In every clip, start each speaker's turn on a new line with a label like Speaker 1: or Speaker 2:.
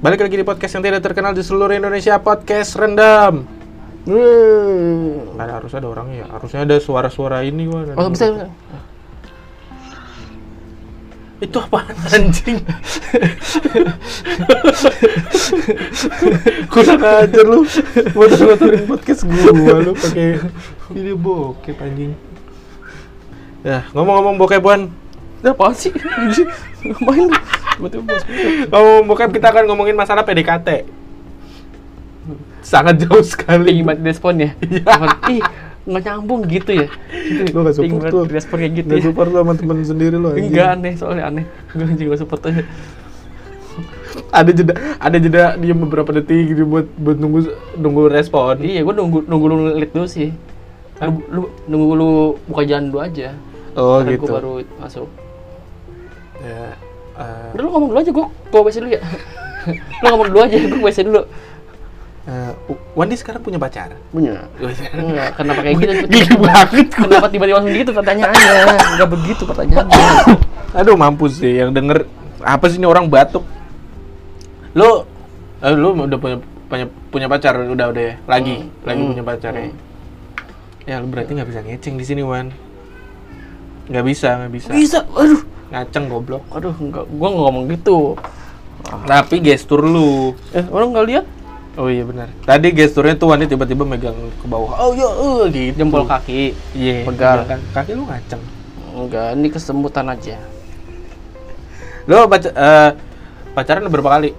Speaker 1: Balik lagi di podcast yang tidak terkenal di seluruh Indonesia, podcast rendam.
Speaker 2: Wuh.
Speaker 1: Ada harus ada orangnya ya, harusnya ada suara-suara ini gua.
Speaker 2: Oh, bisa. bisa.
Speaker 1: Itu apa anjing? Kurang ajar lu. Motor-motorin podcast gua lu pakai ini bokep anjing. Ya, ngomong-ngomong bokepan,
Speaker 2: Udah apaan sih? Anjing. Ngapain lu? Tiba-tiba bos.
Speaker 1: ngomong bokep kita akan ngomongin masalah PDKT. Sangat jauh sekali.
Speaker 2: Tinggi banget respon ya.
Speaker 1: Iya.
Speaker 2: Telepon, Ih, nggak nyambung gitu ya. Gitu.
Speaker 1: Lu nggak
Speaker 2: Tinggi
Speaker 1: support
Speaker 2: banget
Speaker 1: lu.
Speaker 2: Respon kayak gitu
Speaker 1: Nggak
Speaker 2: ya.
Speaker 1: support lu sama temen sendiri lu anjing.
Speaker 2: Enggak aneh soalnya aneh. Gue anjing gak support aja.
Speaker 1: ada jeda ada jeda dia beberapa detik gitu buat buat nunggu nunggu respon
Speaker 2: Iya, gue nunggu nunggu lu lihat dulu sih. Lu, lu nunggu lu buka jalan dulu aja.
Speaker 1: oh
Speaker 2: Ntar
Speaker 1: gitu
Speaker 2: Gue baru masuk.
Speaker 1: ya, eh,
Speaker 2: Udah lu ngomong dulu aja, gue ke WC dulu ya. lu ngomong dulu aja, gue ke WC dulu.
Speaker 1: eh, Wandi sekarang punya pacar
Speaker 2: Punya. Enggak, kenapa kayak gitu?
Speaker 1: geli banget gua.
Speaker 2: Kenapa tiba-tiba langsung gitu pertanyaannya? Enggak begitu pertanyaannya.
Speaker 1: aduh mampus sih yang denger apa sih ini orang batuk lo eh, lo udah punya punya, punya pacar udah udah ya? lagi
Speaker 2: Hmm.
Speaker 1: lagi
Speaker 2: Hmm.
Speaker 1: punya pacar ya
Speaker 2: Hmm.
Speaker 1: ya lo berarti nggak bisa ngeceng di sini Wan nggak bisa nggak bisa
Speaker 2: Oh, Bisa, aduh.
Speaker 1: ngaceng goblok
Speaker 2: Aduh, enggak, gua nggak ngomong gitu.
Speaker 1: tapi gestur lu
Speaker 2: Eh, orang nggak lihat
Speaker 1: Oh iya benar. Tadi gesturnya tuh Wandi tiba-tiba megang ke bawah. Oh iya, eh, gitu.
Speaker 2: jempol kaki.
Speaker 1: Iya.
Speaker 2: Pegal.
Speaker 1: Pegal. Kaki lu ngaceng.
Speaker 2: Enggak, ini kesembutan aja.
Speaker 1: Lo pac eh, pacaran berapa kali?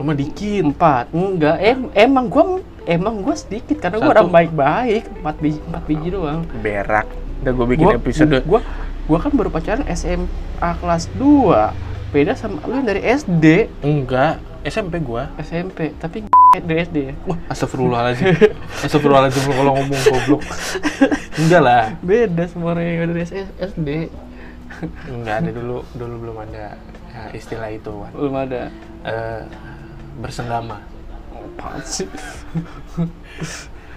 Speaker 1: Cuma dikit.
Speaker 2: Empat, enggak. Em emang gua emang gua sedikit karena gua
Speaker 1: Satu.
Speaker 2: orang baik-baik. Empat biji, empat biji doang.
Speaker 1: Berak. Udah gue bikin
Speaker 2: Gua-
Speaker 1: episode.
Speaker 2: Gua, gua kan baru pacaran SMA kelas 2 beda sama lu yang dari SD
Speaker 1: Enggak. SMP gua.
Speaker 2: SMP tapi dari SD ya
Speaker 1: Wah, astagfirullahaladzim. astagfirullahaladzim lu kalau ngomong goblok. Enggak lah.
Speaker 2: beda sama orang yang dari S- SD
Speaker 1: Enggak ada dulu. Dulu belum ada ya, istilah itu, Wan.
Speaker 2: belum ada
Speaker 1: Eh, bersenggama.
Speaker 2: apaan sih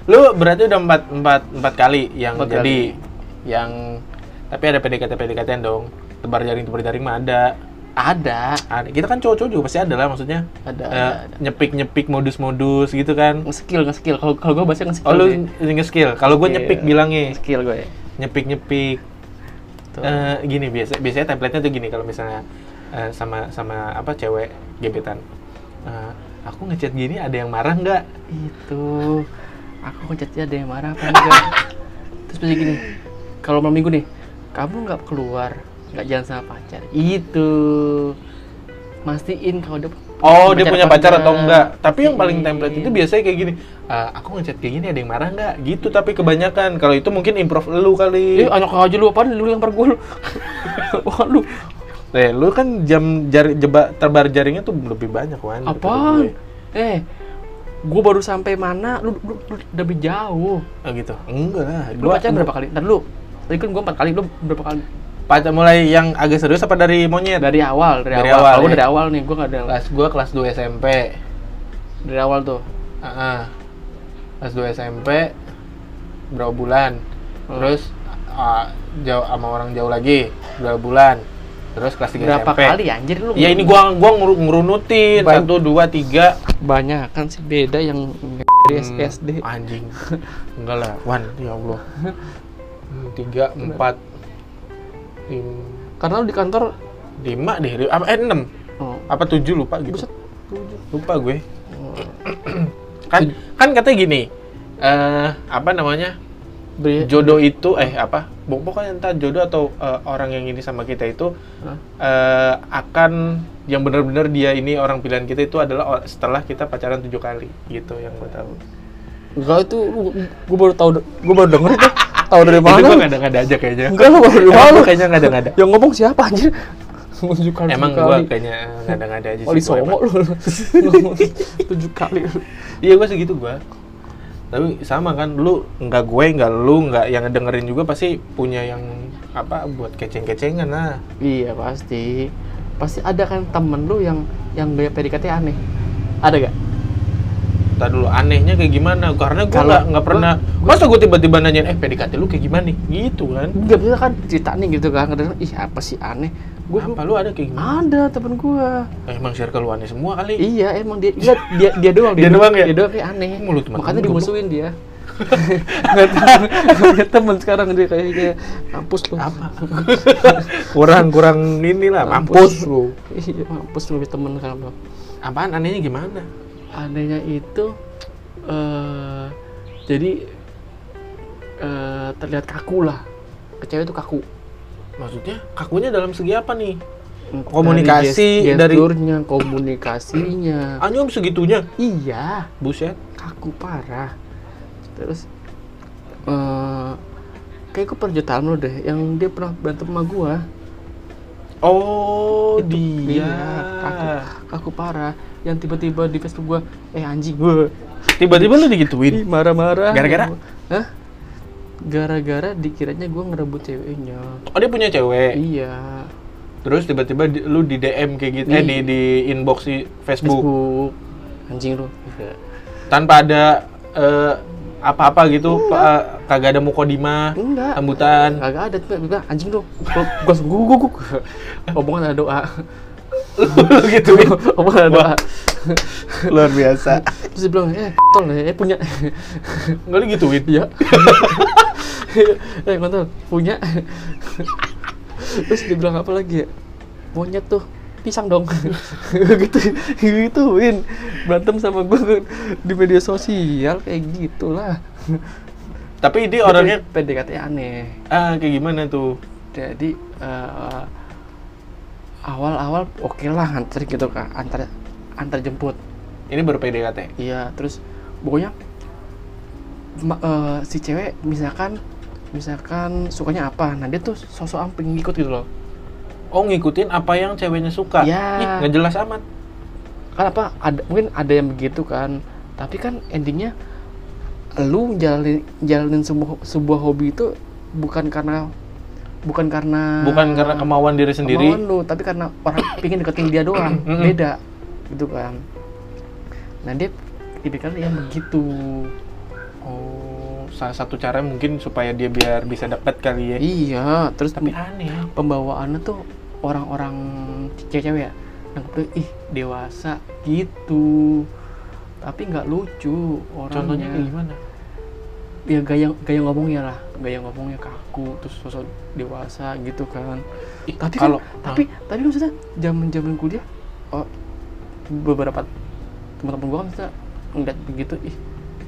Speaker 1: Lu berarti udah empat, empat, empat kali yang
Speaker 2: Empat
Speaker 1: jadi yang tapi ada PDKT PDKT dong. Tebar jaring tebar jaring mah ada.
Speaker 2: ada
Speaker 1: Ada- Kita kan cowok-cowok juga pasti ada lah maksudnya.
Speaker 2: Ada,
Speaker 1: Eh,
Speaker 2: ada, ada.
Speaker 1: Nyepik-nyepik modus-modus gitu kan.
Speaker 2: nge-skill nge-skill kalau kalau gue bahasnya nge-skill
Speaker 1: Oh lu
Speaker 2: deh.
Speaker 1: skill. Kalau gue
Speaker 2: Iya.
Speaker 1: nyepik bilangnya
Speaker 2: nge-skill gue ya.
Speaker 1: nyepik-nyepik.
Speaker 2: Tuh.
Speaker 1: Eh, gini biasa biasanya template-nya tuh gini kalau misalnya eh, sama sama apa cewek gebetan. Eh, aku ngechat gini ada yang marah nggak?
Speaker 2: itu aku ngechatnya ada yang marah apa enggak terus pasti gini kalau malam minggu nih kamu nggak keluar nggak jalan sama pacar itu mastiin kalau dia
Speaker 1: Oh, dia punya pacar
Speaker 2: apa
Speaker 1: atau enggak? Tapi yang paling
Speaker 2: Iya.
Speaker 1: template itu biasanya kayak gini. "Eh, aku ngechat kayak gini ada yang marah enggak? Gitu tapi kebanyakan. Kalau itu mungkin improve lu
Speaker 2: Eh,
Speaker 1: kali.
Speaker 2: anak aja lu apaan lu lempar gue lu. Wah lu,
Speaker 1: Eh, lu kan jam jari jeba, terbar jaringnya tuh lebih banyak kan.
Speaker 2: apaan? Eh, gue baru sampai mana? Lu, lu, lu lebih jauh.
Speaker 1: Oh gitu. Enggak lah.
Speaker 2: Lu
Speaker 1: Gua-
Speaker 2: pacaran berapa kali? Ntar lu, tadi kan gue empat kali, lu berapa kali?
Speaker 1: Pacar mulai yang agak serius apa dari monyet?
Speaker 2: Dari awal, dari,
Speaker 1: Dari
Speaker 2: awal.
Speaker 1: awal,
Speaker 2: Kalau gua
Speaker 1: ya.
Speaker 2: dari awal nih, gue gak ada
Speaker 1: Kelas gua kelas 2 SMP.
Speaker 2: dari awal tuh.
Speaker 1: Heeh. Kelas 2 SMP berapa bulan?
Speaker 2: Hmm.
Speaker 1: Terus ah, jauh sama orang jauh lagi berapa bulan? Terus kelas 3
Speaker 2: Berapa
Speaker 1: SMP.
Speaker 2: kali anjir lu?
Speaker 1: Ya ini gua gua ngeru- ngerunutin
Speaker 2: Baik.
Speaker 1: satu dua tiga
Speaker 2: banyak kan sih beda yang
Speaker 1: Hmm.
Speaker 2: dari SD.
Speaker 1: anjing enggak lah wan ya allah Hmm, tiga empat lim-
Speaker 2: Karena lu di kantor
Speaker 1: lima deh Ri- apa eh, enam
Speaker 2: oh,
Speaker 1: apa tujuh lupa gitu
Speaker 2: buset, tujuh. Oh.
Speaker 1: lupa gue kan kan katanya gini eh apa namanya
Speaker 2: Beri-
Speaker 1: jodoh itu eh apa Bo- pokoknya entah jodoh atau eh, orang yang ini sama kita itu
Speaker 2: Hah?
Speaker 1: eh, akan yang benar-benar dia ini orang pilihan kita itu adalah o- setelah kita pacaran tujuh kali gitu yang gue tahu
Speaker 2: Enggak itu gue baru tahu gue baru denger itu. Tahu dari
Speaker 1: Itu
Speaker 2: mana?
Speaker 1: gue ngada-ngada aja kayaknya.
Speaker 2: Enggak lu baru
Speaker 1: Emang
Speaker 2: malu.
Speaker 1: gua kayaknya ngada-ngada.
Speaker 2: Yang ngomong siapa anjir? Menunjukkan
Speaker 1: Emang gue kayaknya ngada-ngada aja sih.
Speaker 2: Wali
Speaker 1: gua
Speaker 2: Songo
Speaker 1: emang.
Speaker 2: lu. Ngomong Tujuh kali.
Speaker 1: Iya gue segitu gue. Tapi sama kan, lu nggak gue, nggak lu, nggak yang dengerin juga pasti punya yang apa buat keceng-kecengan lah.
Speaker 2: Iya pasti. Pasti ada kan temen lu yang yang gaya PDKT aneh. Ada gak?
Speaker 1: Tar dulu anehnya kayak gimana? Karena gue
Speaker 2: Kalau
Speaker 1: nggak nggak pernah.
Speaker 2: gua-
Speaker 1: Masa gue tiba-tiba nanyain, eh PDKT lu kayak gimana nih? Gitu kan?
Speaker 2: Gak bisa kan cerita nih gitu kan ngedenger, ih apa sih aneh
Speaker 1: Gue
Speaker 2: gue
Speaker 1: apa lu ada kayak gimana?
Speaker 2: ada temen gua
Speaker 1: Eh, emang circle lu aneh semua kali.
Speaker 2: iya emang dia iya, dia dia doang
Speaker 1: Dia doang ya?
Speaker 2: dia doang kayak aneh
Speaker 1: Mulut teman
Speaker 2: makanya
Speaker 1: lu goblok.
Speaker 2: dimusuhin dia nggak tahu nggak temen sekarang dia kayaknya mampus lu apa
Speaker 1: kurang kurang inilah mampus
Speaker 2: Mampus.
Speaker 1: lu.
Speaker 2: iya mampus lu punya temen sekarang bro
Speaker 1: Apaan anehnya gimana?
Speaker 2: anehnya itu eh jadi eh terlihat kaku lah ke cewek itu kaku
Speaker 1: Maksudnya kakunya dalam segi apa nih?
Speaker 2: Dari
Speaker 1: Komunikasi,
Speaker 2: gest-
Speaker 1: dari-
Speaker 2: gesturnya komunikasinya
Speaker 1: Anjum segitunya.
Speaker 2: iya
Speaker 1: Buset.
Speaker 2: kaku parah terus eh kayak gue pernah jutaan lo deh yang dia pernah berantem sama gua
Speaker 1: Oh,
Speaker 2: Itu-
Speaker 1: dia.
Speaker 2: iya, kaku kaku parah yang tiba-tiba di Facebook gua eh anjing gua
Speaker 1: Tiba-tiba lu digituin.
Speaker 2: Ih, marah-marah
Speaker 1: Gara-gara?
Speaker 2: Hah? gara-gara dikiranya gua ngerebut ceweknya
Speaker 1: Oh, dia punya cewek.
Speaker 2: iya
Speaker 1: Terus tiba-tiba di- lu di DM kayak gitu, eh
Speaker 2: Iya.
Speaker 1: di di inbox di Facebook.
Speaker 2: Facebook anjing lu
Speaker 1: tanpa ada eh, apa-apa gitu pa- kagak ada mukodima
Speaker 2: enggak
Speaker 1: sambutan
Speaker 2: kagak ada tiba tiba anjing lu gua gua gua gua- gua omongan ada doa
Speaker 1: lu gitu
Speaker 2: omongan ada doa
Speaker 1: Wah. luar biasa
Speaker 2: terus dia bilang eh tol eh punya
Speaker 1: nggak lu gituin
Speaker 2: Iya. eh kontol punya. Terus dibilang apa lagi ya? Monyet tuh pisang dong gitu gituin berantem sama gue di media sosial kayak gitulah
Speaker 1: tapi dia orangnya
Speaker 2: PDKT aneh
Speaker 1: ah kayak gimana tuh
Speaker 2: jadi eh, awal-awal oke lah antar gitu kan antar antar jemput
Speaker 1: ini baru PDKT
Speaker 2: Iya, terus pokoknya ma- eh, si cewek misalkan misalkan sukanya apa, nah dia tuh sosok amping ngikut gitu loh.
Speaker 1: oh ngikutin apa yang ceweknya suka
Speaker 2: Iya.
Speaker 1: Ih, nggak jelas amat
Speaker 2: Kan apa ada mungkin ada yang begitu kan, tapi kan endingnya lu jalanin jalanin sebuah sebuah hobi itu bukan karena bukan karena
Speaker 1: bukan karena kemauan diri sendiri
Speaker 2: kemauan lu tapi karena orang pingin deketin dia doang
Speaker 1: Mm-mm.
Speaker 2: beda gitu kan nah dia tipikalnya yang begitu
Speaker 1: oh salah satu cara mungkin supaya dia biar bisa dapet kali ya
Speaker 2: iya terus
Speaker 1: tapi aneh ya,
Speaker 2: pembawaannya tuh orang-orang cewek-cewek ya nangkepnya ih dewasa gitu tapi nggak lucu orangnya
Speaker 1: contohnya kayak gimana
Speaker 2: ya gaya gaya ngomongnya lah gaya ngomongnya kaku terus sosok dewasa gitu kan
Speaker 1: Ih,
Speaker 2: tapi
Speaker 1: kalau
Speaker 2: kalau tapi tapi maksudnya zaman zaman kuliah oh, beberapa teman-teman gua kan maksudnya ngeliat begitu ih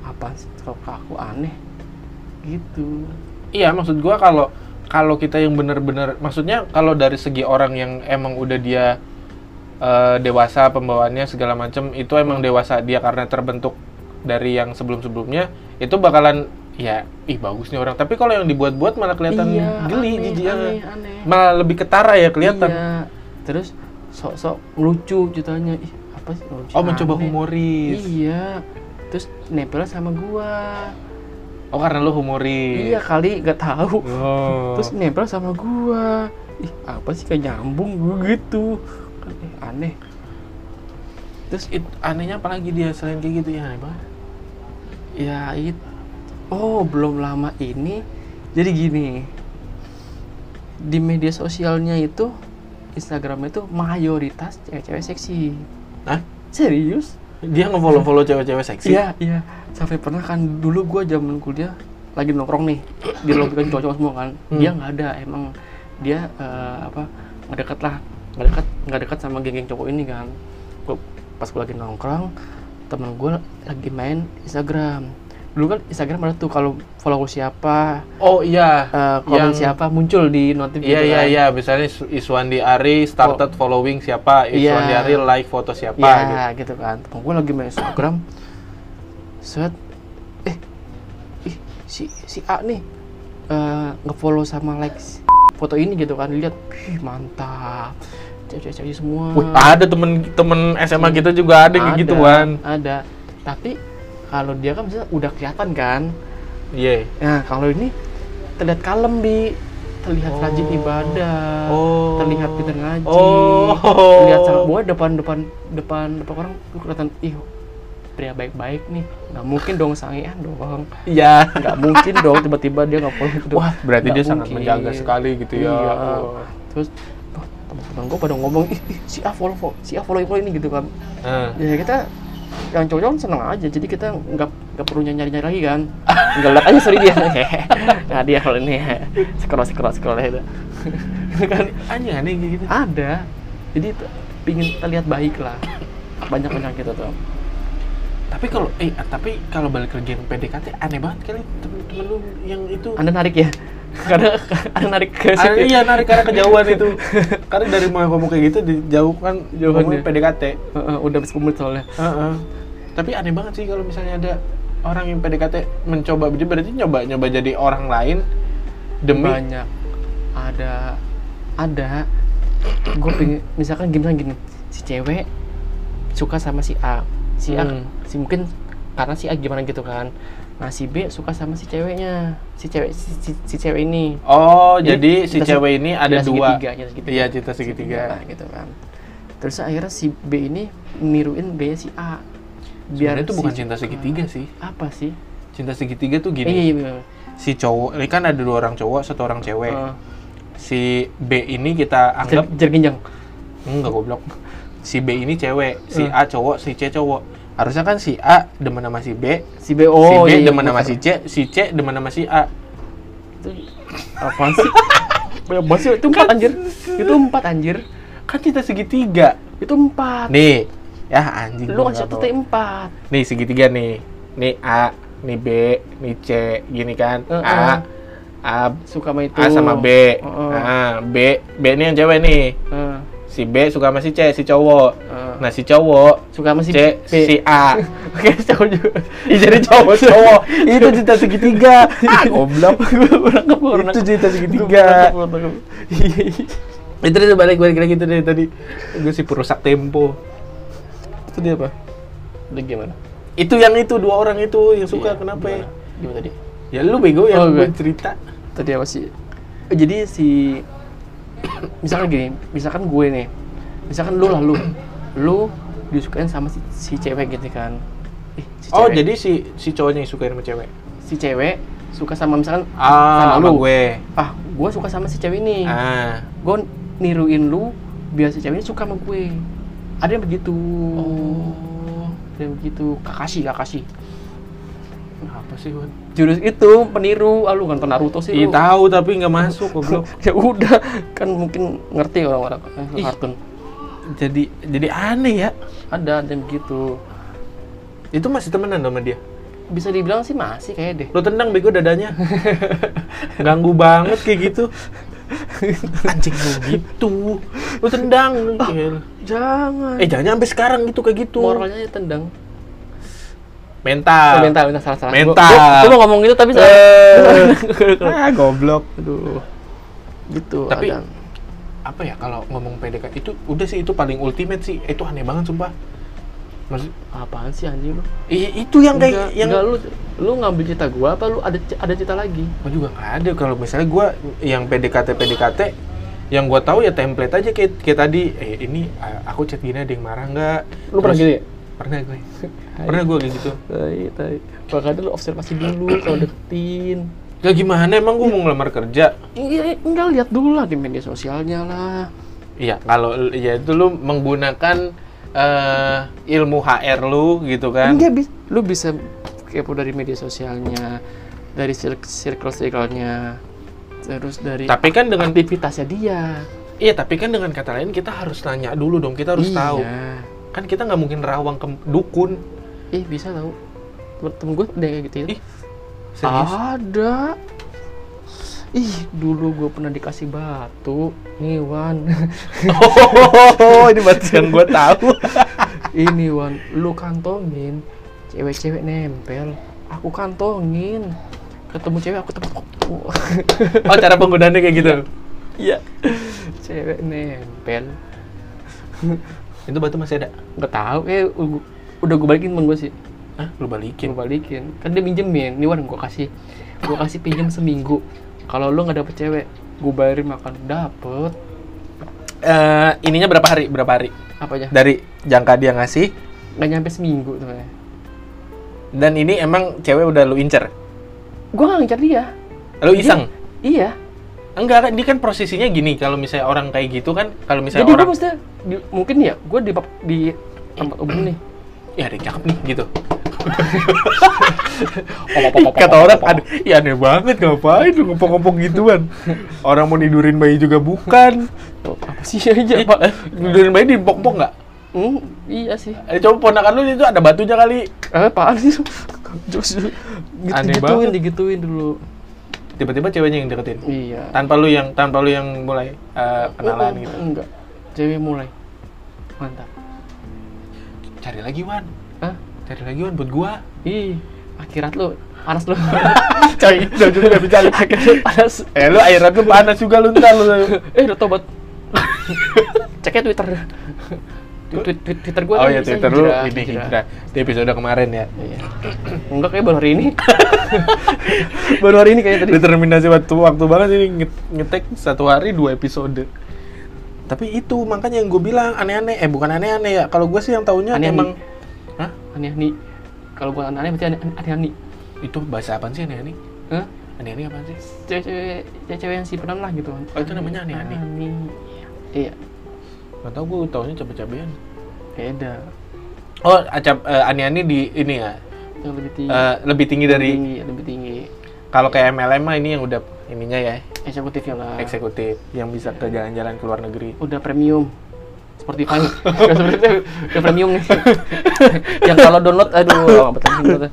Speaker 2: apa sih kalau kaku aneh gitu
Speaker 1: Iya, maksud gua kalau kalau kita yang bener-bener, maksudnya kalau dari segi orang yang emang udah dia eh, dewasa pembawaannya segala macem itu emang dewasa dia karena terbentuk dari yang sebelum-sebelumnya itu bakalan ya ih bagus nih orang tapi kalau yang dibuat-buat malah kelihatan geli
Speaker 2: Iya, aneh,
Speaker 1: jijik
Speaker 2: aneh,
Speaker 1: ah.
Speaker 2: aneh.
Speaker 1: malah lebih ketara ya kelihatan
Speaker 2: Iya. Terus sok-sok lucu ceritanya. Ih, apa sih lucu?
Speaker 1: oh mencoba
Speaker 2: aneh.
Speaker 1: humoris
Speaker 2: Iya. Terus nempelnya sama gua.
Speaker 1: oh karena lu humoris
Speaker 2: Iya kali nggak tahu.
Speaker 1: oh.
Speaker 2: Terus nempel sama gua. Ih, apa sih kayak nyambung gua gitu. Kan eh, aneh. Terus
Speaker 1: It- anehnya apalagi dia selain kayak gitu ya aneh banget
Speaker 2: ya it Oh, belum lama ini jadi gini. Di media sosialnya itu Instagram itu mayoritas cewek-cewek seksi.
Speaker 1: Hah?
Speaker 2: Serius?
Speaker 1: dia ngefollow-follow cewek-cewek seksi
Speaker 2: Iya, iya. Sampai pernah kan dulu gua zaman kuliah lagi nongkrong nih di lobby kan cowok-cowok semua kan.
Speaker 1: Hmm.
Speaker 2: Dia nggak ada emang dia eh, apa nggak dekat lah, nggak dekat nggak dekat sama geng-geng cowok ini kan. Gua pas gua lagi nongkrong temen gua lagi main Instagram. Dulu kan Instagram ada tuh kalau follow siapa,
Speaker 1: oh iya
Speaker 2: eh, komen
Speaker 1: Yang-
Speaker 2: siapa muncul di
Speaker 1: Iya
Speaker 2: notif gitu
Speaker 1: iya
Speaker 2: kan.
Speaker 1: iya, misalnya Is- Iswandi Ari started following siapa, Iswandi
Speaker 2: Iya.
Speaker 1: Ari like foto siapa gitu.
Speaker 2: Ya, gitu. kan. Temen gue lagi main Instagram. Set. Eh. Ih, si si A nih eh ngefollow sama like s- foto ini gitu kan. Lihat, ih mantap. Cewek-cewek semua.
Speaker 1: Wih, ada temen-temen SMA kita juga Hmm. ada, kayak gitu, gituan.
Speaker 2: Ada. Tapi kalau dia kan misalnya udah kelihatan kan.
Speaker 1: Iya.
Speaker 2: Nah, kalau ini terlihat kalem di terlihat
Speaker 1: Oh.
Speaker 2: rajin ibadah,
Speaker 1: Oh.
Speaker 2: terlihat pintar ngaji,
Speaker 1: Oh.
Speaker 2: terlihat sangat bahwa depan depan depan depan orang tuh kelihatan ih pria baik-baik nih nggak mungkin dong sangean dong
Speaker 1: Iya.
Speaker 2: nggak mungkin dong tiba-tiba dia nggak follow gitu
Speaker 1: Wah, berarti
Speaker 2: Nggak
Speaker 1: dia sangat
Speaker 2: mungkin.
Speaker 1: menjaga sekali gitu ya.
Speaker 2: Iya.
Speaker 1: Oh.
Speaker 2: terus "Wah, teman-teman gue pada ngomong ih, ih, si A follow, follow si A follow follow ini gitu kan
Speaker 1: Eh.
Speaker 2: ya kita yang cowok kan seneng aja jadi kita nggak nggak perlu nyari nyari lagi kan tinggal lihat aja sorry dia nah dia kalau ini scroll scroll scroll itu kan
Speaker 1: Aneh aneh kayak gitu.
Speaker 2: ada jadi t- pingin terlihat baik lah banyak banyak gitu tuh
Speaker 1: Tapi kalau eh tapi kalau balik lagi yang PDKT aneh banget kali temen-temen lu yang itu.
Speaker 2: anda narik ya karena anda narik ke
Speaker 1: Ah,
Speaker 2: situ
Speaker 1: iya narik karena kejauhan itu. Karena dari mulai ngomong kayak gitu dijauhkan
Speaker 2: Jauhan
Speaker 1: ngomongin
Speaker 2: ya.
Speaker 1: PDKT.
Speaker 2: Heeh, udah 10 menit soalnya
Speaker 1: Heeh. Tapi aneh banget sih kalau misalnya ada orang yang PDKT mencoba dia berarti nyoba nyoba jadi orang lain demi
Speaker 2: banyak ada ada gue pengen misalkan gimana gini si cewek suka sama si A si A
Speaker 1: Hmm.
Speaker 2: si mungkin karena si A gimana gitu kan nah si B suka sama si ceweknya si cewek si, si- si cewek ini
Speaker 1: Oh,
Speaker 2: Jadi
Speaker 1: jadi, si
Speaker 2: kita se-
Speaker 1: cewek ini ada
Speaker 2: Cinta
Speaker 1: dua.
Speaker 2: segitiga, cinta segitiga.
Speaker 1: Iya, cinta segitiga.
Speaker 2: nah, gitu kan terus akhirnya si B ini niruin B si A
Speaker 1: Biar itu
Speaker 2: si-
Speaker 1: bukan cinta segitiga sih.
Speaker 2: apa sih
Speaker 1: Cinta segitiga tuh
Speaker 2: Eh, iya
Speaker 1: gini.
Speaker 2: iya iya.
Speaker 1: Si cowok, ini kan ada dua orang cowok, satu orang cewek.
Speaker 2: Eh,
Speaker 1: Si B ini kita
Speaker 2: jer-
Speaker 1: anggap
Speaker 2: jer ginjang
Speaker 1: enggak goblok. Si B ini cewek, si A cowok, si C cowok. Harusnya kan si A demen sama si B,
Speaker 2: si B oh
Speaker 1: si B
Speaker 2: iya, iya,
Speaker 1: demen sama
Speaker 2: bener.
Speaker 1: si C, si C demen sama si A.
Speaker 2: itu apaan sih banyak banget sih. itu empat anjir itu empat anjir
Speaker 1: Kan cinta segitiga.
Speaker 2: itu empat
Speaker 1: Nih, ya anjing.
Speaker 2: lu
Speaker 1: gua nggak
Speaker 2: ngasih satu
Speaker 1: tahu.
Speaker 2: T empat
Speaker 1: nih segitiga nih nih A nih B nih C gini kan
Speaker 2: Heeh.
Speaker 1: A A
Speaker 2: suka sama itu
Speaker 1: A sama B
Speaker 2: Heeh.
Speaker 1: Ah, B B ini yang cewek nih
Speaker 2: Heeh.
Speaker 1: si B suka sama si C si cowok
Speaker 2: Heeh.
Speaker 1: nah si cowok
Speaker 2: suka sama si
Speaker 1: C
Speaker 2: B
Speaker 1: si A
Speaker 2: oke cowok juga
Speaker 1: Ih, jadi cowok cowok itu cinta segitiga ah goblok
Speaker 2: Nangkep
Speaker 1: itu
Speaker 2: gua, nangkep.
Speaker 1: cinta segitiga
Speaker 2: Nangkep, nangkep.
Speaker 1: itu dia balik balik lagi tuh dari tadi gue si perusak tempo
Speaker 2: itu dia apa dia gimana
Speaker 1: itu yang itu dua orang itu yang suka
Speaker 2: Iya,
Speaker 1: kenapa ya
Speaker 2: gimana? gimana tadi
Speaker 1: ya lu bego yang
Speaker 2: Oh,
Speaker 1: gue
Speaker 2: gue.
Speaker 1: cerita
Speaker 2: tadi apa sih Eh, jadi si misalkan gini misalkan gue nih misalkan lu lah lu lu disukain sama si, si cewek gitu kan Ih, si
Speaker 1: oh
Speaker 2: cewek.
Speaker 1: jadi si si cowoknya yang suka sama cewek
Speaker 2: si cewek suka sama misalkan
Speaker 1: ah,
Speaker 2: sama
Speaker 1: sama
Speaker 2: lu
Speaker 1: gue.
Speaker 2: ah gue suka sama si cewek ini
Speaker 1: Ah.
Speaker 2: gue niruin lu biar si cewek ini suka sama gue ada yang begitu ada yang begitu kakashi kakashi
Speaker 1: Apa sih, Wan?
Speaker 2: jurus itu peniru ah lu nonton Naruto sih
Speaker 1: Ih,
Speaker 2: lu
Speaker 1: tahu tapi nggak masuk goblok.
Speaker 2: ya udah kan mungkin ngerti orang-orang eh,
Speaker 1: Ih.
Speaker 2: kartun
Speaker 1: jadi jadi aneh ya.
Speaker 2: ada ada yang begitu
Speaker 1: Itu masih temenan sama dia.
Speaker 2: bisa dibilang sih masih kayak deh
Speaker 1: Lo tendang bego dadanya. Ganggu banget kayak gitu. Anjing lu gitu. Lo tendang.
Speaker 2: Oh.
Speaker 1: Gil.
Speaker 2: jangan
Speaker 1: Eh, jangan sampai sekarang gitu kayak gitu.
Speaker 2: moralnya ya tendang
Speaker 1: Mental.
Speaker 2: oh, mental mental salah salah
Speaker 1: Mental.
Speaker 2: Gua- gua- gua mau ngomong itu tapi salah
Speaker 1: Eh. ah, goblok.
Speaker 2: aduh gitu
Speaker 1: Tapi-
Speaker 2: ada.
Speaker 1: apa ya kalau ngomong PDKT itu udah sih itu paling ultimate sih. Eh, Itu aneh banget sumpah. Maksud,
Speaker 2: apaan sih anjing lu
Speaker 1: i- itu yang kayak
Speaker 2: Enggak,
Speaker 1: yang
Speaker 2: enggak, lu lu ngambil cerita gua apa lu ada ada cerita lagi
Speaker 1: Gue juga nggak ada kalau misalnya gua yang PDKT PDKT yang gua tahu ya template aja kayak, kayak tadi eh ini a- aku chat gini ada yang marah nggak
Speaker 2: Lu pernah gitu ya?
Speaker 1: pernah gue pernah gue kayak gitu
Speaker 2: tai tai makanya lu observasi dulu kalau deketin
Speaker 1: ya gimana emang gue mau ngelamar kerja
Speaker 2: iya enggak lihat dulu lah di media sosialnya lah
Speaker 1: iya kalau ya itu lu menggunakan eh, ilmu HR lu gitu kan
Speaker 2: enggak bis lu bisa kepo dari media sosialnya dari circle circle-nya terus dari
Speaker 1: tapi kan dengan
Speaker 2: aktivitasnya dia
Speaker 1: iya tapi kan dengan kata lain kita harus nanya dulu dong kita harus
Speaker 2: Iya.
Speaker 1: tahu kan kita nggak mungkin rawang ke dukun
Speaker 2: ih bisa tahu temen gue udah kayak gitu
Speaker 1: Ih, serius
Speaker 2: Ada. Ih, dulu gue pernah dikasih batu, nih Wan.
Speaker 1: oh ini batas yang gue tahu
Speaker 2: Ini Wan, lu kantongin, cewek-cewek nempel, aku kantongin. Ketemu cewek aku tepuk.
Speaker 1: oh cara penggunaannya kayak gitu
Speaker 2: Iya. cewek nempel.
Speaker 1: itu batu masih ada
Speaker 2: Gak tahu kayak u- udah gue balikin temen gue sih.
Speaker 1: Hah? Lu balikin?
Speaker 2: Gue balikin. Kan dia minjemin, nih Wan gue kasih. Gue kasih pinjam seminggu. Kalau lu nggak dapet cewek, gue bayarin makan dapet.
Speaker 1: Eh, ininya berapa hari? Berapa hari?
Speaker 2: Apa aja?
Speaker 1: Dari jangka Ya. dia ngasih
Speaker 2: Gak nyampe seminggu tuh ya.
Speaker 1: Dan ini emang cewek udah lu incer?
Speaker 2: gue nggak ngincar dia
Speaker 1: Lu Oh, iseng?
Speaker 2: iya
Speaker 1: Enggak, kan ini kan prosesinya gini, kalau misalnya orang kayak gitu kan, kalau misalnya
Speaker 2: jadi gue
Speaker 1: orang,
Speaker 2: maksudnya di- mungkin ya gue di bab- di tempat umum nih
Speaker 1: ya ada yang cakep nih, gitu.
Speaker 2: Pop, pop, pop, pop,
Speaker 1: Kata
Speaker 2: pop,
Speaker 1: orang,
Speaker 2: pop,
Speaker 1: "Aduh, ya aneh banget, ngapain lu ngepong-ngepong gituan. Orang mau tidurin bayi juga bukan.
Speaker 2: pop. apa sih aja
Speaker 1: Iya,
Speaker 2: pak
Speaker 1: Pak. Tidurin bayi di pong-pong nggak?
Speaker 2: Hmm, iya sih
Speaker 1: Eh, coba ponakan lu itu ada batunya kali.
Speaker 2: eh apaan sih jokes gitu
Speaker 1: Aneh
Speaker 2: digituin
Speaker 1: banget.
Speaker 2: digituin dulu
Speaker 1: Tiba-tiba ceweknya yang deketin.
Speaker 2: iya
Speaker 1: Tanpa lu yang tanpa lu yang mulai eh, kenalan
Speaker 2: Mm,
Speaker 1: gitu.
Speaker 2: enggak cewek mulai mantap
Speaker 1: Cari lagi, Wan.
Speaker 2: Hah?
Speaker 1: Cari lagi, Wan, buat gua.
Speaker 2: ih akhirat lu panas lu
Speaker 1: Cari, udah jadi udah bicara.
Speaker 2: akhirat panas
Speaker 1: Eh, lu akhirat lu panas juga lu ntar lu.
Speaker 2: eh udah tobat ceknya twitter Twi- twi- twi- Twitter gue
Speaker 1: Oh ya Twitter lu ini hijrah. Di episode kemarin ya.
Speaker 2: Iya. Enggak kayak baru hari ini. baru hari ini kayaknya tadi.
Speaker 1: Determinasi waktu waktu banget ini nge- ngetek satu hari dua episode. Tapi itu makanya yang gue bilang aneh-aneh. Eh bukan aneh-aneh ya. Kalau gue sih yang taunya
Speaker 2: Aneh-aneh.
Speaker 1: emang Hah?
Speaker 2: Aneh nih. Kalau bukan aneh berarti aneh aneh aneh.
Speaker 1: Itu bahasa apa sih aneh-aneh?
Speaker 2: Hah?
Speaker 1: Aneh-aneh apa sih?
Speaker 2: Cewek-cewek cewek-cewek yang simpanan lah gitu.
Speaker 1: Oh, itu namanya aneh-aneh.
Speaker 2: Aneh. Iya,
Speaker 1: Gak tau gue taunya cabe-cabean.
Speaker 2: beda.
Speaker 1: Oh, acap eh, aneh-aneh di ini ya.
Speaker 2: Yang lebih tinggi.
Speaker 1: eh, lebih tinggi
Speaker 2: lebih
Speaker 1: dari
Speaker 2: tinggi, lebih tinggi.
Speaker 1: kalau kayak MLM mah ini yang udah ininya ya,
Speaker 2: Eksekutifnya lah.
Speaker 1: eksekutif yang bisa ke jalan-jalan ke luar negeri.
Speaker 2: udah premium seperti Fang udah seperti itu, udah premium nih yang kalau download aduh betul download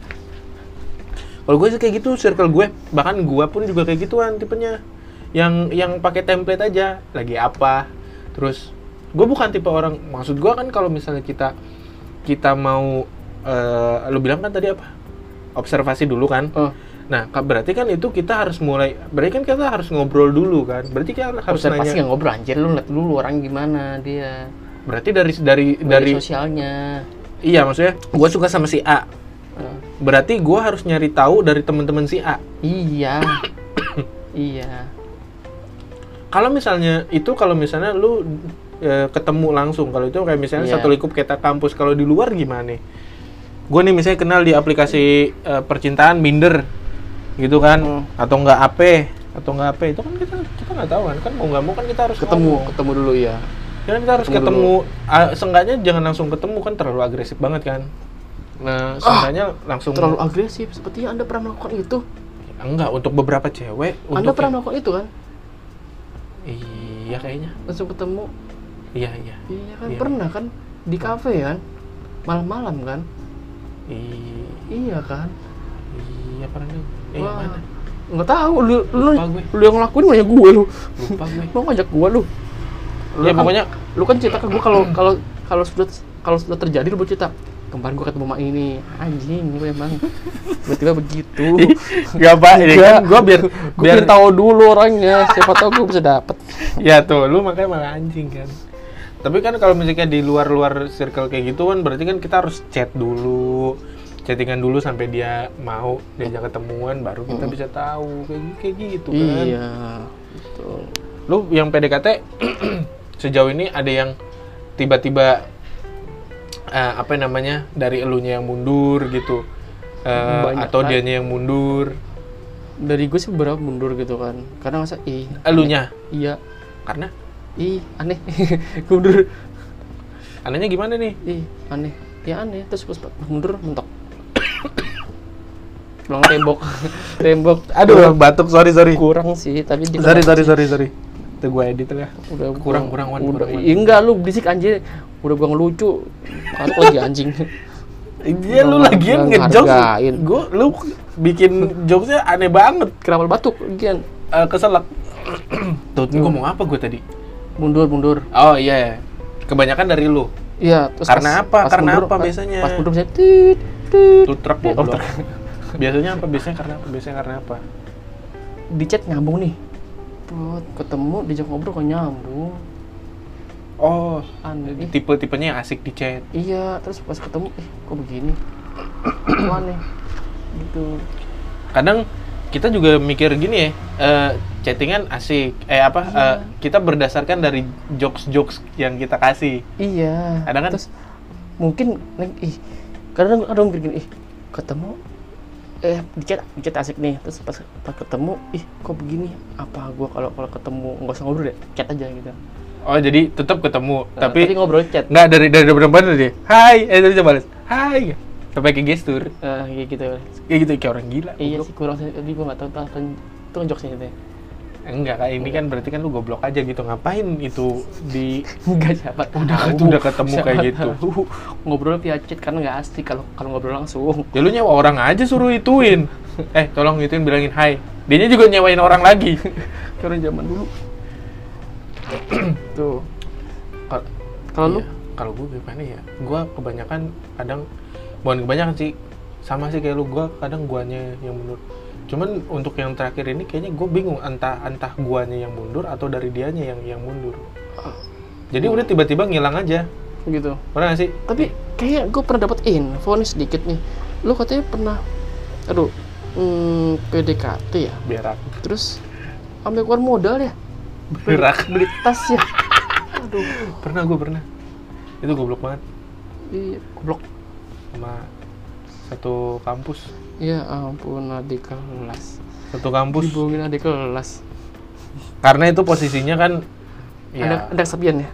Speaker 1: Kalau gue sih kayak gitu circle gue, bahkan gue pun juga kayak gituan tipenya. Yang yang pakai template aja, lagi apa. Terus gue bukan tipe orang, maksud gue kan kalau misalnya kita kita mau eh lu bilang kan tadi apa? Observasi dulu kan.
Speaker 2: oh,
Speaker 1: Nah, ka- berarti kan itu kita harus mulai, berarti kan kita harus ngobrol dulu kan. Berarti kan harus
Speaker 2: harus pasti
Speaker 1: nanya.
Speaker 2: nggak ngobrol anjir lu liat dulu orang gimana dia
Speaker 1: Berarti dari dari dari
Speaker 2: dari sosialnya
Speaker 1: iya maksudnya gue suka sama si A.
Speaker 2: Eh,
Speaker 1: Berarti gue harus nyari tahu dari teman-teman si A.
Speaker 2: iya iya
Speaker 1: Kalau misalnya itu kalau misalnya lu eh, ketemu langsung kalau itu kayak misalnya
Speaker 2: Iya.
Speaker 1: satu lingkup kita kampus kalau di luar gimana? Gue nih misalnya kenal di aplikasi eh, percintaan Minder gitu kan
Speaker 2: Hmm.
Speaker 1: atau enggak AP atau enggak AP itu kan kita kita nggak tahu kan kan mau nggak mau kan kita harus
Speaker 2: ketemu
Speaker 1: ngomong.
Speaker 2: ketemu dulu ya
Speaker 1: Kan kita harus
Speaker 2: Ketemu
Speaker 1: ketemu, ah, seenggaknya jangan langsung ketemu kan terlalu agresif banget kan. Nah, seenggaknya langsung
Speaker 2: Ah, terlalu agresif sepertinya anda pernah melakukan itu
Speaker 1: enggak untuk beberapa cewek
Speaker 2: anda
Speaker 1: untuk ya?
Speaker 2: pernah melakukan itu kan
Speaker 1: Iya kayaknya.
Speaker 2: langsung ketemu
Speaker 1: Iya, iya.
Speaker 2: iya kan
Speaker 1: Iya.
Speaker 2: pernah kan di kafe kan malam-malam kan
Speaker 1: I-
Speaker 2: iya kan
Speaker 1: Iya pernah juga. Eh, yang
Speaker 2: Wah,
Speaker 1: mana?
Speaker 2: nggak tahu lu lu
Speaker 1: Lupa gue.
Speaker 2: lu yang ngelakuin nanya gue lu
Speaker 1: Lupa gue.
Speaker 2: lu ngajak gue lu Lu
Speaker 1: ya
Speaker 2: kan-
Speaker 1: pokoknya
Speaker 2: lu kan cerita ke gue kalau
Speaker 1: Hmm.
Speaker 2: kalau kalau sudah kalau sudah terjadi lu baru cerita kemarin gue ketemu mak ini anjing gue emang tiba-tiba begitu
Speaker 1: enggak apa ini
Speaker 2: Enggak.
Speaker 1: kan gua biar
Speaker 2: gue
Speaker 1: biar
Speaker 2: pengen tahu dulu orangnya siapa tahu gue bisa dapet
Speaker 1: Ya tuh, lu makanya malah anjing kan. Tapi kan kalau misalnya di luar-luar circle kayak gitu kan berarti kan kita harus chat dulu. Chattingan dulu sampai dia mau diajak ketemuan baru kita bisa tahu kayak gi- kayak gitu kan.
Speaker 2: iya betul
Speaker 1: Lu yang PDKT sejauh ini ada yang tiba-tiba eh, apa namanya dari elunya yang mundur gitu. Eh,
Speaker 2: Banyak
Speaker 1: atau
Speaker 2: kan.
Speaker 1: dianya yang mundur.
Speaker 2: dari gue sih beberapa mundur gitu kan karena masa ih
Speaker 1: Elunya
Speaker 2: iya
Speaker 1: karena
Speaker 2: ih aneh gue mundur
Speaker 1: anehnya gimana nih?
Speaker 2: ih aneh ya aneh terus gue sempat mundur mentok belum tembok tembok
Speaker 1: Aduh, batuk sorry sorry.
Speaker 2: kurang sih tapi di
Speaker 1: Sorry sorry sorry sorry. Itu gua edit ya.
Speaker 2: udah
Speaker 1: Kurang,
Speaker 2: gua-
Speaker 1: kurang, Wan,
Speaker 2: udah,
Speaker 1: kurang, Wan.
Speaker 2: Ih, enggak lu berisik anjir udah gua ngelucu kartu lagi anjing
Speaker 1: Iya lu
Speaker 2: Gua
Speaker 1: lagian
Speaker 2: nggak
Speaker 1: ngejokes.
Speaker 2: hargain.
Speaker 1: Gua lu bikin jokesnya aneh banget.
Speaker 2: kenapa lu batuk gian
Speaker 1: Eh, keselak. Tuh, gua ngomong apa gua tadi?
Speaker 2: mundur mundur
Speaker 1: Oh iya. Kebanyakan dari lu.
Speaker 2: iya terus
Speaker 1: Karena apa? Karena apa
Speaker 2: pas-
Speaker 1: biasanya?
Speaker 2: pas mundur saya tit tit
Speaker 1: Lu truk
Speaker 2: Oh,
Speaker 1: goblok.
Speaker 2: truk.
Speaker 1: Biasanya apa? Biasanya karena apa? Biasanya karena apa?
Speaker 2: di chat nyambung nih Put, ketemu diajak ngobrol kok nyambung
Speaker 1: Oh,
Speaker 2: aneh Ih,
Speaker 1: tipe-tipenya yang asik di chat.
Speaker 2: iya terus pas ketemu eh kok begini kok aneh gitu
Speaker 1: kadang kita juga mikir gini ya eh, chattingan asik eh apa eh, kita berdasarkan dari jokes jokes yang kita kasih
Speaker 2: iya
Speaker 1: Kadang kan-
Speaker 2: terus mungkin neng- ih kadang kadang mikir gini ih ketemu eh di chat di chat asik nih terus pas, pas ketemu ih kok begini apa gua kalau kalau ketemu nggak usah ngobrol deh chat aja gitu
Speaker 1: Oh jadi tetap ketemu,
Speaker 2: Nah,
Speaker 1: tapi
Speaker 2: tapi ngobrol chat
Speaker 1: nggak dari dari benar-benar dia. Hai, eh terus dia balas. Hai. gitu. Sampai kayak gestur,
Speaker 2: Eh, kayak gitu
Speaker 1: kayak gitu kayak orang gila.
Speaker 2: iya
Speaker 1: goblok.
Speaker 2: sih kurang sih tapi gua nggak tahu tuh kan itu ngejok sih itu
Speaker 1: Enggak kayak ini kan berarti kan lu goblok aja gitu. Ngapain itu di
Speaker 2: nggak siapa tahu
Speaker 1: Udah ketemu- udah ketemu kayak gitu.
Speaker 2: tahu. ngobrol via chat karena nggak asik kalau kalau ngobrol langsung
Speaker 1: Ya lu nyewa orang aja suruh ituin. Eh, tolong ituin bilangin hai. Dianya juga nyewain orang lagi.
Speaker 2: kayak orang zaman dulu tuh
Speaker 1: Kal-
Speaker 2: kalau lu
Speaker 1: Iya. Kalau gue gimana ya? Gue kebanyakan kadang bukan kebanyakan sih sama sih kayak lu gue kadang guanya yang mundur. Cuman untuk yang terakhir ini kayaknya gue bingung entah entah guanya yang mundur atau dari dianya yang yang mundur. Jadi udah tiba-tiba ngilang aja.
Speaker 2: gitu
Speaker 1: Pernah gak sih?
Speaker 2: tapi kayak gue pernah dapat info nih sedikit nih lu katanya pernah aduh hmm, PDKT ya
Speaker 1: Berak.
Speaker 2: terus ambil keluar modal ya
Speaker 1: Berak.
Speaker 2: beli tas ya aduh
Speaker 1: Pernah gue pernah. Itu goblok banget
Speaker 2: iya goblok
Speaker 1: sama satu kampus.
Speaker 2: ya ampun adik kelas
Speaker 1: Satu kampus.
Speaker 2: dibohongin adik kelas
Speaker 1: Karena itu posisinya kan ya
Speaker 2: ada ada kesepian ya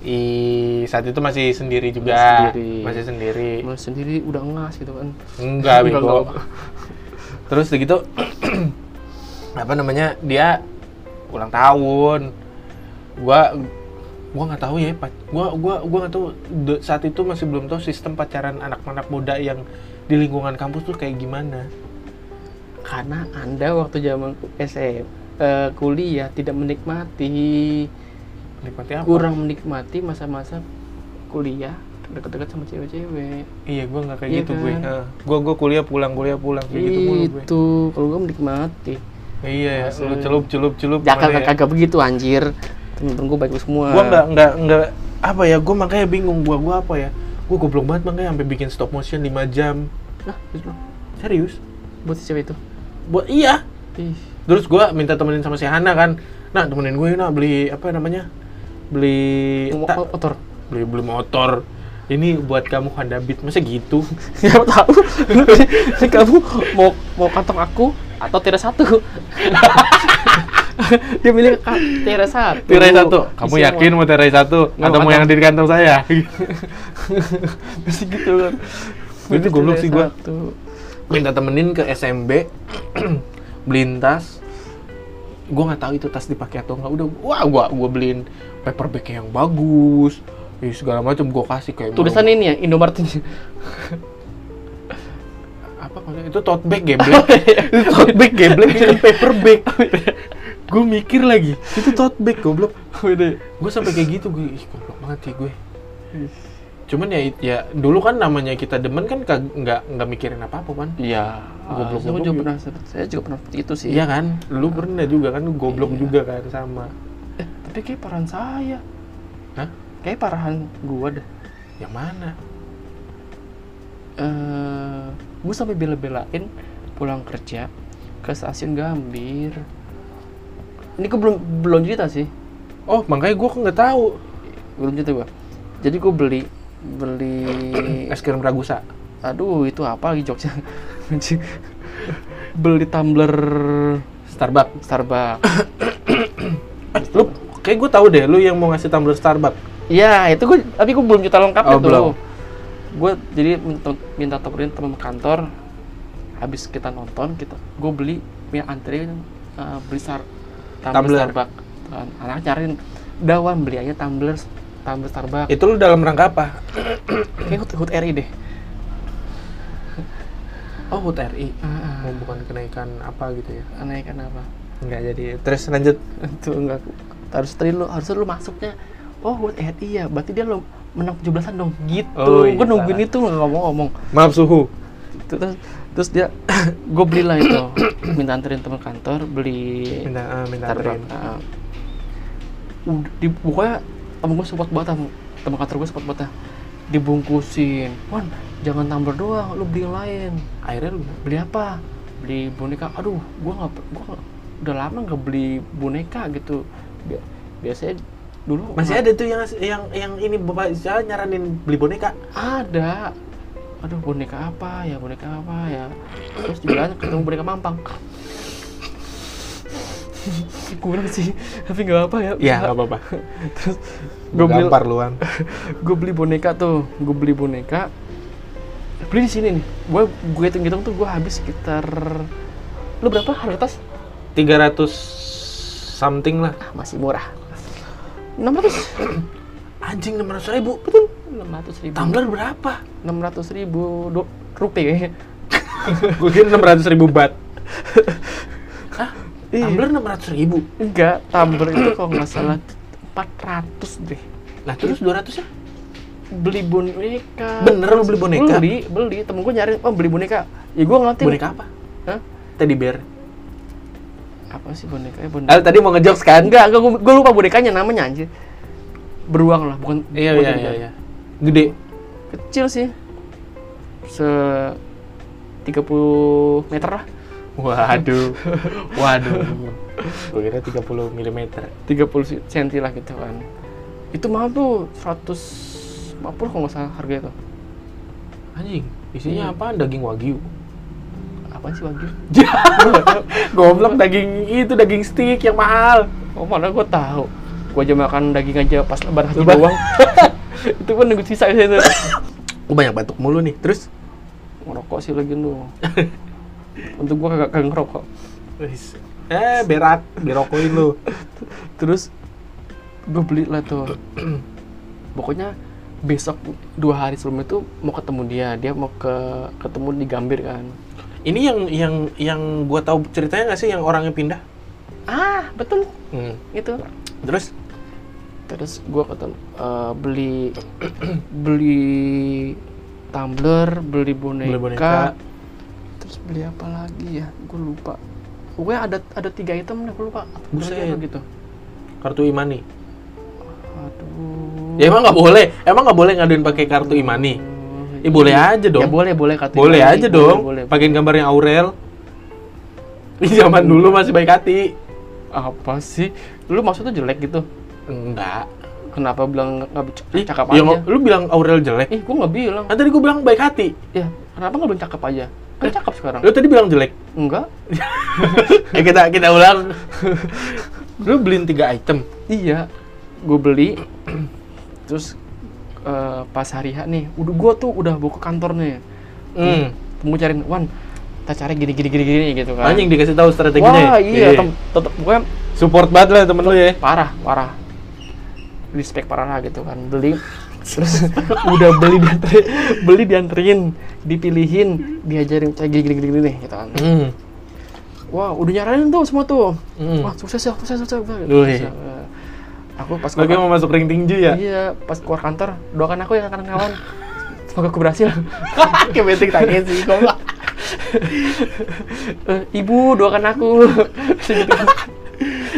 Speaker 1: i saat itu masih sendiri juga.
Speaker 2: sendiri.
Speaker 1: Masih sendiri.
Speaker 2: Mulai sendiri udah ngas gitu kan
Speaker 1: Enggak, bego.
Speaker 2: Enggak, enggak.
Speaker 1: Terus udah gitu apa namanya? Dia ulang tahun. Gua gua nggak tahu ya, Pak. Gua gua gua nggak tahu de- saat itu masih belum tahu sistem pacaran anak-anak muda yang di lingkungan kampus tuh kayak gimana.
Speaker 2: karena anda waktu zaman SM eh, kuliah tidak menikmati
Speaker 1: Nikmati apa?
Speaker 2: kurang menikmati masa-masa kuliah deket-deket sama cewek-cewek
Speaker 1: Iya, gua nggak kayak
Speaker 2: Iya
Speaker 1: gitu gue.
Speaker 2: kan?
Speaker 1: Nah, gua gua kuliah pulang, kuliah pulang kayak gitu mulu gue.
Speaker 2: itu kalau gue menikmati
Speaker 1: Iya,
Speaker 2: Masa-
Speaker 1: lu celup celup celup.
Speaker 2: ya
Speaker 1: kemana
Speaker 2: kagak kagak begitu anjir temen-temen gue baik semua
Speaker 1: gua nggak nggak nggak apa ya gua makanya bingung gua gua apa ya gua goblok banget makanya sampai bikin stop motion 5 jam
Speaker 2: nah terus lu,
Speaker 1: serius
Speaker 2: buat si cewek itu
Speaker 1: buat iya
Speaker 2: ih
Speaker 1: terus gua minta temenin sama si Hana kan nah temenin gue nah beli apa namanya beli
Speaker 2: mau
Speaker 1: ta-
Speaker 2: kotor
Speaker 1: beli beli motor ini buat kamu Honda Beat masa gitu
Speaker 2: siapa tahu Ini kamu mau mau kantong aku atau tirai satu dia milih ka- tirai satu
Speaker 1: tirai satu kamu
Speaker 2: Isi
Speaker 1: yakin mau tirai satu
Speaker 2: Nggak,
Speaker 1: atau mau
Speaker 2: atau-
Speaker 1: yang di kantong saya
Speaker 2: semua. Pasti gitu kan
Speaker 1: Itu goblok sih gua.
Speaker 2: Tirai satu.
Speaker 1: minta temenin ke SMB beliin tas gue nggak tahu itu tas dipakai atau nggak udah wah gua gua beliin paper bag yang bagus ih, segala macam gue kasih kayak
Speaker 2: tulisan
Speaker 1: mau-
Speaker 2: ini ya Indomaret ini.
Speaker 1: apa maksudnya itu tote bag
Speaker 2: Oh,
Speaker 1: geblek
Speaker 2: iya,
Speaker 1: itu tote bag geblek bukan paper bag gue mikir lagi itu tote bag goblok gue sampai kayak gitu gue ih goblok banget sih gue cuman ya ya dulu kan namanya kita demen kan kag- nggak nggak mikirin apa apa kan
Speaker 2: iya
Speaker 1: Goblok-goblok
Speaker 2: saya juga
Speaker 1: gitu.
Speaker 2: pernah saya juga pernah seperti itu sih
Speaker 1: iya kan lu pernah juga kan lu
Speaker 2: Iya.
Speaker 1: goblok juga kan sama
Speaker 2: Eh, tapi kayak parahan saya
Speaker 1: Hah?
Speaker 2: kayak parahan gua dah
Speaker 1: Yang mana?
Speaker 2: eh gue sampai bela-belain pulang kerja ke stasiun Gambir. Ini gue belum belum cerita sih,
Speaker 1: Oh, makanya gue nggak tahu.
Speaker 2: belum cerita gue. Jadi gue beli beli,
Speaker 1: Es krim Ragusa.
Speaker 2: aduh itu apa lagi Jogja? Anjing. beli tumbler
Speaker 1: Starbucks.
Speaker 2: Starbucks.
Speaker 1: Eh, lu kayak gue tahu deh, lu yang mau ngasih tumbler Starbucks.
Speaker 2: Iya itu gue, tapi gue belum cerita lengkapnya
Speaker 1: Oh,
Speaker 2: tuh.
Speaker 1: belum.
Speaker 2: Gue jadi minta, minta temenin teman kantor. Habis kita nonton, kita gue beli minyak antri eh, beli star,
Speaker 1: Tumbler.
Speaker 2: tumbler Starbucks. Kan, Anak cariin dawan beli aja tumbler tumbler Starbucks.
Speaker 1: Itu lu dalam rangka apa?
Speaker 2: Kayak hut, hut RI deh.
Speaker 1: Oh, HUT RI.
Speaker 2: Ah,
Speaker 1: Mau bukan kenaikan apa gitu ya.
Speaker 2: aneh kenapa?
Speaker 1: Enggak jadi. Terus lanjut.
Speaker 2: Itu enggak harus tadi lu harus lu masuknya. Oh hut RI ya, berarti dia lu menang 17-an dong gitu.
Speaker 1: Oh, iya,
Speaker 2: gue nungguin
Speaker 1: salah.
Speaker 2: itu nggak ngomong-ngomong.
Speaker 1: Maaf suhu.
Speaker 2: terus terus dia gue belilah itu minta anterin teman kantor beli
Speaker 1: Minta ah, minta anterin.
Speaker 2: Starbucks Nah, ud- di pokoknya temen gue support banget sama- temen kantor gue support banget ah. dibungkusin wan jangan tambah doang lu beli yang lain
Speaker 1: Akhirnya lu
Speaker 2: beli apa beli boneka aduh gua nggak per- gua nggak- udah lama nggak beli boneka gitu Bi- biasanya dulu
Speaker 1: masih ada tuh yang yang yang ini bapak saya nyaranin beli boneka.
Speaker 2: ada aduh boneka apa ya boneka apa ya terus di jalan ketemu boneka mampang gue bilang sih tapi nggak apa ya
Speaker 1: Iya, nggak apa-apa.
Speaker 2: terus gue
Speaker 1: Gue
Speaker 2: beli
Speaker 1: gampar luan.
Speaker 2: gue beli boneka tuh gue beli boneka beli di sini nih gue gue hitung hitung tuh gue habis sekitar lu berapa harga tas
Speaker 1: 300 something lah.
Speaker 2: ah, masih murah 600
Speaker 1: Anjing 600 ribu.
Speaker 2: 600 ribu
Speaker 1: Tumbler berapa?
Speaker 2: 600 ribu do, rupiah kayaknya
Speaker 1: Gue kira 600 ribu bat. Hah?
Speaker 2: Iya.
Speaker 1: Tumbler 600 ribu?
Speaker 2: enggak tumbler itu kalau nggak salah 400 deh
Speaker 1: Lah terus 200 ya?
Speaker 2: beli boneka
Speaker 1: Bener lu beli boneka?
Speaker 2: beli beli temen gue nyari oh beli boneka ya gue ngerti
Speaker 1: Boneka apa?
Speaker 2: Hah?
Speaker 1: Teddy bear.
Speaker 2: apa sih bonekanya boneka
Speaker 1: Al tadi mau ngejokes kan?
Speaker 2: enggak enggak gue, gue lupa bonekanya namanya anjir beruang lah bukan
Speaker 1: Iya
Speaker 2: bukan
Speaker 1: iya
Speaker 2: teddy
Speaker 1: iya.
Speaker 2: bear.
Speaker 1: iya. Gede.
Speaker 2: kecil sih se 30 meter lah
Speaker 1: Waduh. Waduh. Gue kira 30 mm.
Speaker 2: 30 se- senti lah gitu kan itu mahal tuh 150 kalau nggak salah harga itu
Speaker 1: Anjing, isinya
Speaker 2: Iya.
Speaker 1: apa? Daging wagyu.
Speaker 2: apa sih wagyu
Speaker 1: Goblok daging itu daging stick yang mahal.
Speaker 2: oh mana gue tahu gue aja makan daging aja pas lebaran haji
Speaker 1: Lebaran.
Speaker 2: doang itu pun nunggu sisa itu
Speaker 1: Gue banyak batuk mulu nih. Terus
Speaker 2: ngerokok sih lagi lu untuk gue kagak kagak ngerokok
Speaker 1: Wis. Eh, berak, berokoin lu.
Speaker 2: terus gue beli lah tuh pokoknya besok dua hari sebelum itu mau ketemu dia dia mau ke ketemu di Gambir kan
Speaker 1: Ini yang yang yang gua tahu ceritanya nggak sih yang orangnya pindah?
Speaker 2: ah betul
Speaker 1: Hmm.
Speaker 2: itu
Speaker 1: Terus
Speaker 2: terus gue ketemu eh, beli beli tumbler beli boneka,
Speaker 1: Beli boneka.
Speaker 2: terus beli apa lagi ya gue lupa gue ada ada tiga item deh gue lupa
Speaker 1: Buset.
Speaker 2: Lagi apa gitu
Speaker 1: kartu imani.
Speaker 2: aduh
Speaker 1: Ya emang nggak boleh, emang nggak boleh ngaduin pakai kartu imani.
Speaker 2: Hmm,
Speaker 1: Eh boleh aja
Speaker 2: ya
Speaker 1: dong.
Speaker 2: boleh boleh kata
Speaker 1: boleh
Speaker 2: Imani.
Speaker 1: aja dong.
Speaker 2: boleh, boleh.
Speaker 1: Pakein gambarnya Aurel. Di zaman dulu masih baik hati.
Speaker 2: apa sih lu maksudnya jelek gitu
Speaker 1: Enggak.
Speaker 2: kenapa bilang nggak nggak c-
Speaker 1: Ih,
Speaker 2: cakep
Speaker 1: ya
Speaker 2: aja
Speaker 1: ngo- lu bilang Aurel jelek.
Speaker 2: ih gua nggak bilang
Speaker 1: Kan tadi gua bilang baik hati.
Speaker 2: ya kenapa nggak bilang cakep aja kan cakep sekarang
Speaker 1: Lu tadi bilang jelek.
Speaker 2: enggak
Speaker 1: ya kita kita ulang. lu beliin tiga item.
Speaker 2: iya gua beli terus eh, pas hari H nih udah gua tuh udah bawa ke kantor nih
Speaker 1: Hmm.
Speaker 2: temu cariin wan kita cari gini gini gini gini gitu kan
Speaker 1: Anjing dikasih tahu strateginya. ya?
Speaker 2: wah iya tem- tetep gue
Speaker 1: Support banget lah temen lu ya.
Speaker 2: parah parah respect parah lah gitu kan beli terus udah beli dianterin, beli dianterin dipilihin diajarin kayak gini gini gini, gini gitu kan
Speaker 1: Hmm.
Speaker 2: wah udah nyaranin tuh semua tuh
Speaker 1: Hmm.
Speaker 2: wah sukses ya sukses sukses, sukses.
Speaker 1: Duh, iya.
Speaker 2: aku pas
Speaker 1: Sebagai
Speaker 2: keluar,
Speaker 1: mau masuk ring tinju ya.
Speaker 2: iya pas keluar kantor doakan aku ya kawan-kawan semoga aku berhasil
Speaker 1: Kayak benteng tadi sih goblok.
Speaker 2: Eh, ibu doakan aku Gitu kan.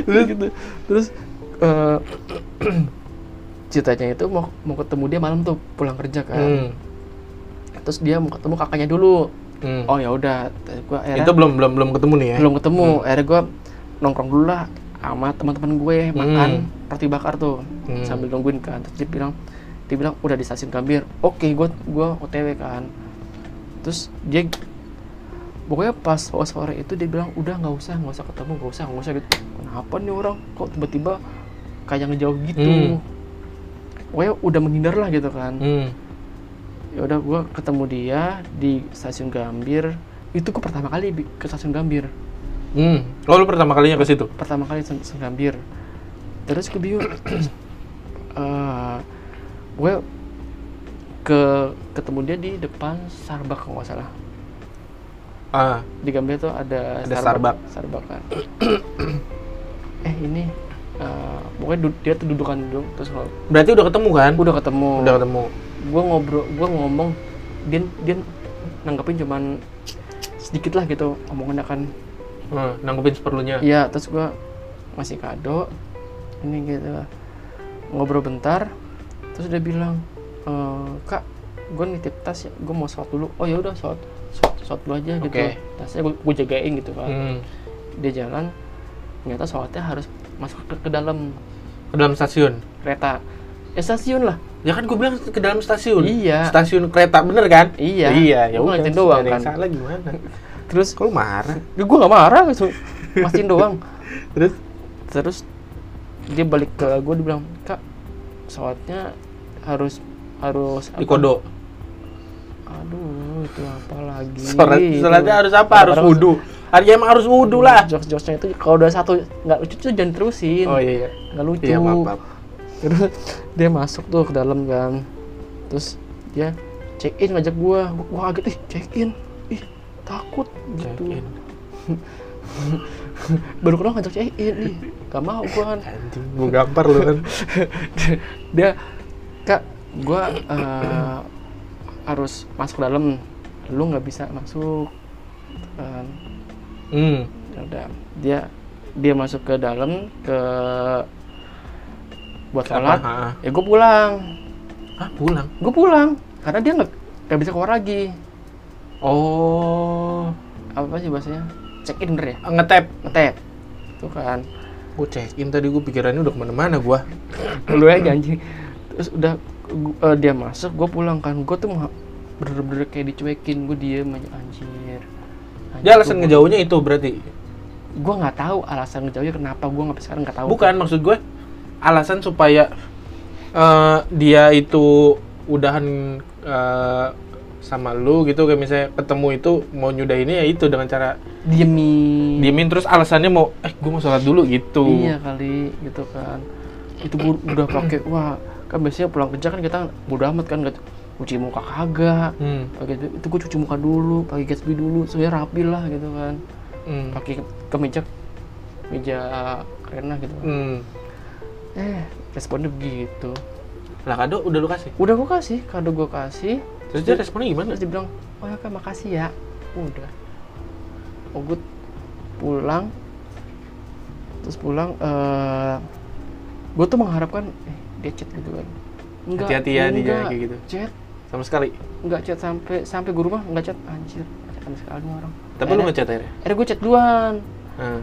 Speaker 2: terus gitu terus eh, ceritanya itu mau mau ketemu dia malam tuh pulang kerja kan
Speaker 1: Hmm.
Speaker 2: terus dia mau ketemu kakaknya dulu
Speaker 1: Hmm.
Speaker 2: oh ya udah "Eh, gue akhirnya
Speaker 1: Itu belum belum belum ketemu nih ya.
Speaker 2: belum ketemu akhirnya gue nongkrong dulu lah sama teman-teman gue makan roti bakar tuh
Speaker 1: Hmm.
Speaker 2: sambil nungguin kan terus dia bilang dia bilang udah di stasiun Gambir oke gue gua otw kan terus dia pokoknya pas sore sore itu dia bilang udah nggak usah nggak usah ketemu nggak usah nggak usah gitu kenapa nih orang kok tiba-tiba kayak ngejauh gitu
Speaker 1: Hmm.
Speaker 2: pokoknya udah menghindar lah gitu kan
Speaker 1: Hmm.
Speaker 2: ya udah gue ketemu dia di stasiun Gambir itu gue pertama kali bi- ke stasiun Gambir
Speaker 1: Hmm. Oh, lu pertama kalinya ke situ.
Speaker 2: pertama kali sen- sen gambir terus gue bingung Eh, gue ke ketemu dia di depan Starbucks kalau nggak salah
Speaker 1: Ah,
Speaker 2: di Gambir tuh ada
Speaker 1: Ada
Speaker 2: Starbucks Starbucks kan eh ini eh, pokoknya du- dia tuh dudukan dulu terus ngel-
Speaker 1: berarti udah ketemu kan?
Speaker 2: udah ketemu
Speaker 1: Udah ketemu.
Speaker 2: gue ngobrol gue ngomong dia dia nanggepin cuman sedikit lah gitu omongannya kan
Speaker 1: Hmm, nanggepin seperlunya.
Speaker 2: Iya, terus gua masih kado ini gitu ngobrol bentar terus dia bilang e, kak gue nitip tas ya gue mau sholat dulu oh ya udah sholat sholat, sholat dulu aja gitu
Speaker 1: Oke.
Speaker 2: tasnya gue, jagain gitu kan
Speaker 1: Hmm.
Speaker 2: dia jalan ternyata sholatnya harus masuk ke, ke dalam
Speaker 1: Ke dalam stasiun.
Speaker 2: kereta ya stasiun lah
Speaker 1: Ya kan gue bilang ke dalam stasiun.
Speaker 2: Iya.
Speaker 1: Stasiun kereta bener kan?
Speaker 2: Iya.
Speaker 1: Iya, ya
Speaker 2: Gua
Speaker 1: udah.
Speaker 2: ngeliatin doang
Speaker 1: nggak ada yang
Speaker 2: kan.
Speaker 1: Salah gimana?
Speaker 2: terus
Speaker 1: Kalau marah.
Speaker 2: gue Ya, nggak marah langsung masin doang
Speaker 1: Terus
Speaker 2: terus dia balik ke gue dibilang kak pesawatnya harus harus apa?"
Speaker 1: di kodo.
Speaker 2: aduh itu apa lagi
Speaker 1: Sholat, sholatnya harus apa? Harus
Speaker 2: wudhu
Speaker 1: wudu. Harusnya emang harus wudu lah.
Speaker 2: jokes-jokesnya itu kalau udah satu nggak lucu tuh jangan terusin
Speaker 1: Oh iya. iya.
Speaker 2: nggak lucu
Speaker 1: Iya, maaf, maaf.
Speaker 2: terus dia masuk tuh ke dalam kan terus dia check in ngajak gua gua, gua kaget ih check in ih takut gitu
Speaker 1: Check-in.
Speaker 2: baru kenal ngajak check in nih gak mau gua kan
Speaker 1: Anjing, mau gampar lu kan.
Speaker 2: dia kak gua eh, harus masuk ke dalam lu nggak bisa masuk Gitu kan
Speaker 1: Hmm.
Speaker 2: Ya udah dia dia masuk ke dalam ke buat
Speaker 1: Ke apa?
Speaker 2: sholat
Speaker 1: Ha, ha.
Speaker 2: ya gue pulang
Speaker 1: Ah, pulang.
Speaker 2: gue pulang karena dia nggak nggak bisa keluar lagi
Speaker 1: Oh,
Speaker 2: apa sih bahasanya check in bener ya
Speaker 1: ngetep.
Speaker 2: ngetep tuh kan
Speaker 1: Gue check in tadi gue pikirannya udah kemana-mana gue.
Speaker 2: lu aja anjing terus udah gu- eh, dia masuk gue pulang kan gue tuh mau- bener-bener kayak dicuekin gue diem aja anjir
Speaker 1: Dia Ya, alasan ngejauhnya itu berarti.
Speaker 2: gue nggak tahu alasan ngejauhnya kenapa gue nggak sekarang nggak tahu
Speaker 1: Bukan maksud gue alasan supaya eh, dia itu udahan eh, sama lu gitu kayak misalnya ketemu itu mau nyudahinnya ya itu dengan cara
Speaker 2: diemin
Speaker 1: diemin terus alasannya mau eh gue mau sholat dulu gitu.
Speaker 2: Iya kali gitu kan. Itu gua udah pakai wah kan biasanya pulang kerja kan kita bodo amat kan nggak cuci muka kagak.
Speaker 1: Hmm,
Speaker 2: Pakai itu gue cuci muka dulu, pakai Gatsby dulu, sebenarnya rapi lah gitu kan.
Speaker 1: hmm,
Speaker 2: Pakai kemeja meja keren lah gitu. kan.
Speaker 1: hmm.
Speaker 2: Eh, responnya begitu.
Speaker 1: Lah kado udah lu kasih.
Speaker 2: Udah gue kasih, kado gue kasih.
Speaker 1: Terus dia responnya gimana?
Speaker 2: Terus dia bilang, oh ya kak makasih ya. Udah. Oh gue pulang. Terus pulang, eh gue tuh mengharapkan, eh dia chat gitu kan. Enggak,
Speaker 1: Hati-hati ya dia
Speaker 2: enggak.
Speaker 1: kayak gitu.
Speaker 2: Chat,
Speaker 1: Sama sekali.
Speaker 2: enggak chat sampai sampai gue rumah, enggak chat. Anjir, chatan sekali nih orang.
Speaker 1: Tapi lu ngechat akhirnya.
Speaker 2: Akhirnya gue chat duluan.
Speaker 1: Nah,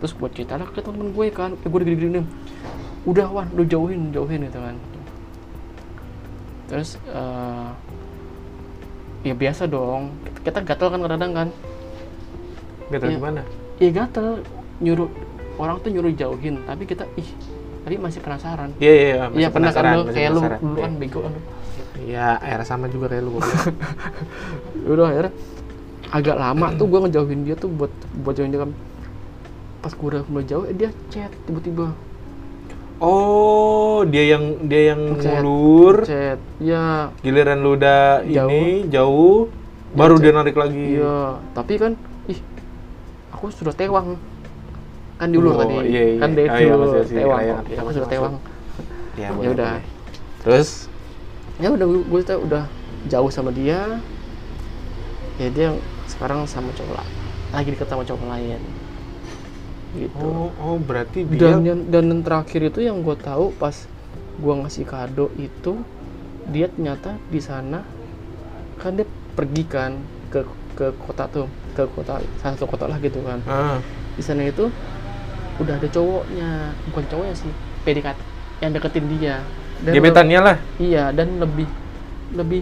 Speaker 2: Terus gue cerita lah ke temen gue kan, eh, gue udah gini-gini. Udah Wan, lu jauhin, jauhin gitu kan. Terus, eh ya biasa dong, kita gatel kan kadang-kadang kan.
Speaker 1: gak tau
Speaker 2: Iya.
Speaker 1: gimana.
Speaker 2: ya gatel nyuruh orang tuh nyuruh jauhin tapi kita ih tapi masih penasaran
Speaker 1: Iya, iya, iya. masih
Speaker 2: Iya pernah kan
Speaker 1: penasaran,
Speaker 2: lu
Speaker 1: masih
Speaker 2: kayak lu
Speaker 1: penasaran.
Speaker 2: dulu kan bego kan lu.
Speaker 1: Iya, air sama juga kayak lu.
Speaker 2: udah akhirnya agak lama tuh gua ngejauhin dia tuh buat buat jauhin dia kan pas gua udah mulai jauh eh, dia chat tiba-tiba
Speaker 1: oh, dia yang dia yang
Speaker 2: Ngechat.
Speaker 1: ngulur.
Speaker 2: chat ya
Speaker 1: giliran lu udah
Speaker 2: Jauh.
Speaker 1: ini jauh baru dia narik lagi
Speaker 2: iya tapi kan ih aku sudah tewang kan dulu
Speaker 1: Oh,
Speaker 2: tadi
Speaker 1: iya, iya.
Speaker 2: kan dia
Speaker 1: Ah,
Speaker 2: itu
Speaker 1: iya, masih- masih
Speaker 2: tewang
Speaker 1: kayak-
Speaker 2: kok.
Speaker 1: kayak
Speaker 2: aku
Speaker 1: masih
Speaker 2: sudah
Speaker 1: masuk.
Speaker 2: tewang
Speaker 1: ya,
Speaker 2: ya
Speaker 1: boleh,
Speaker 2: udah
Speaker 1: boleh. terus
Speaker 2: ya udah gue tuh udah jauh sama dia ya dia sekarang sama cowok la- lagi deket sama cowok lain gitu
Speaker 1: oh oh berarti dia
Speaker 2: dan yang, dan yang terakhir itu yang gue tahu pas gue ngasih kado itu dia ternyata di sana kan dia pergi kan ke ke kota tuh ke kota salah satu kota lah gitu kan
Speaker 1: ah
Speaker 2: di sana itu udah ada cowoknya bukan cowoknya sih PDKT yang deketin dia Dan
Speaker 1: gebetannya lah
Speaker 2: Iya, dan lebih lebih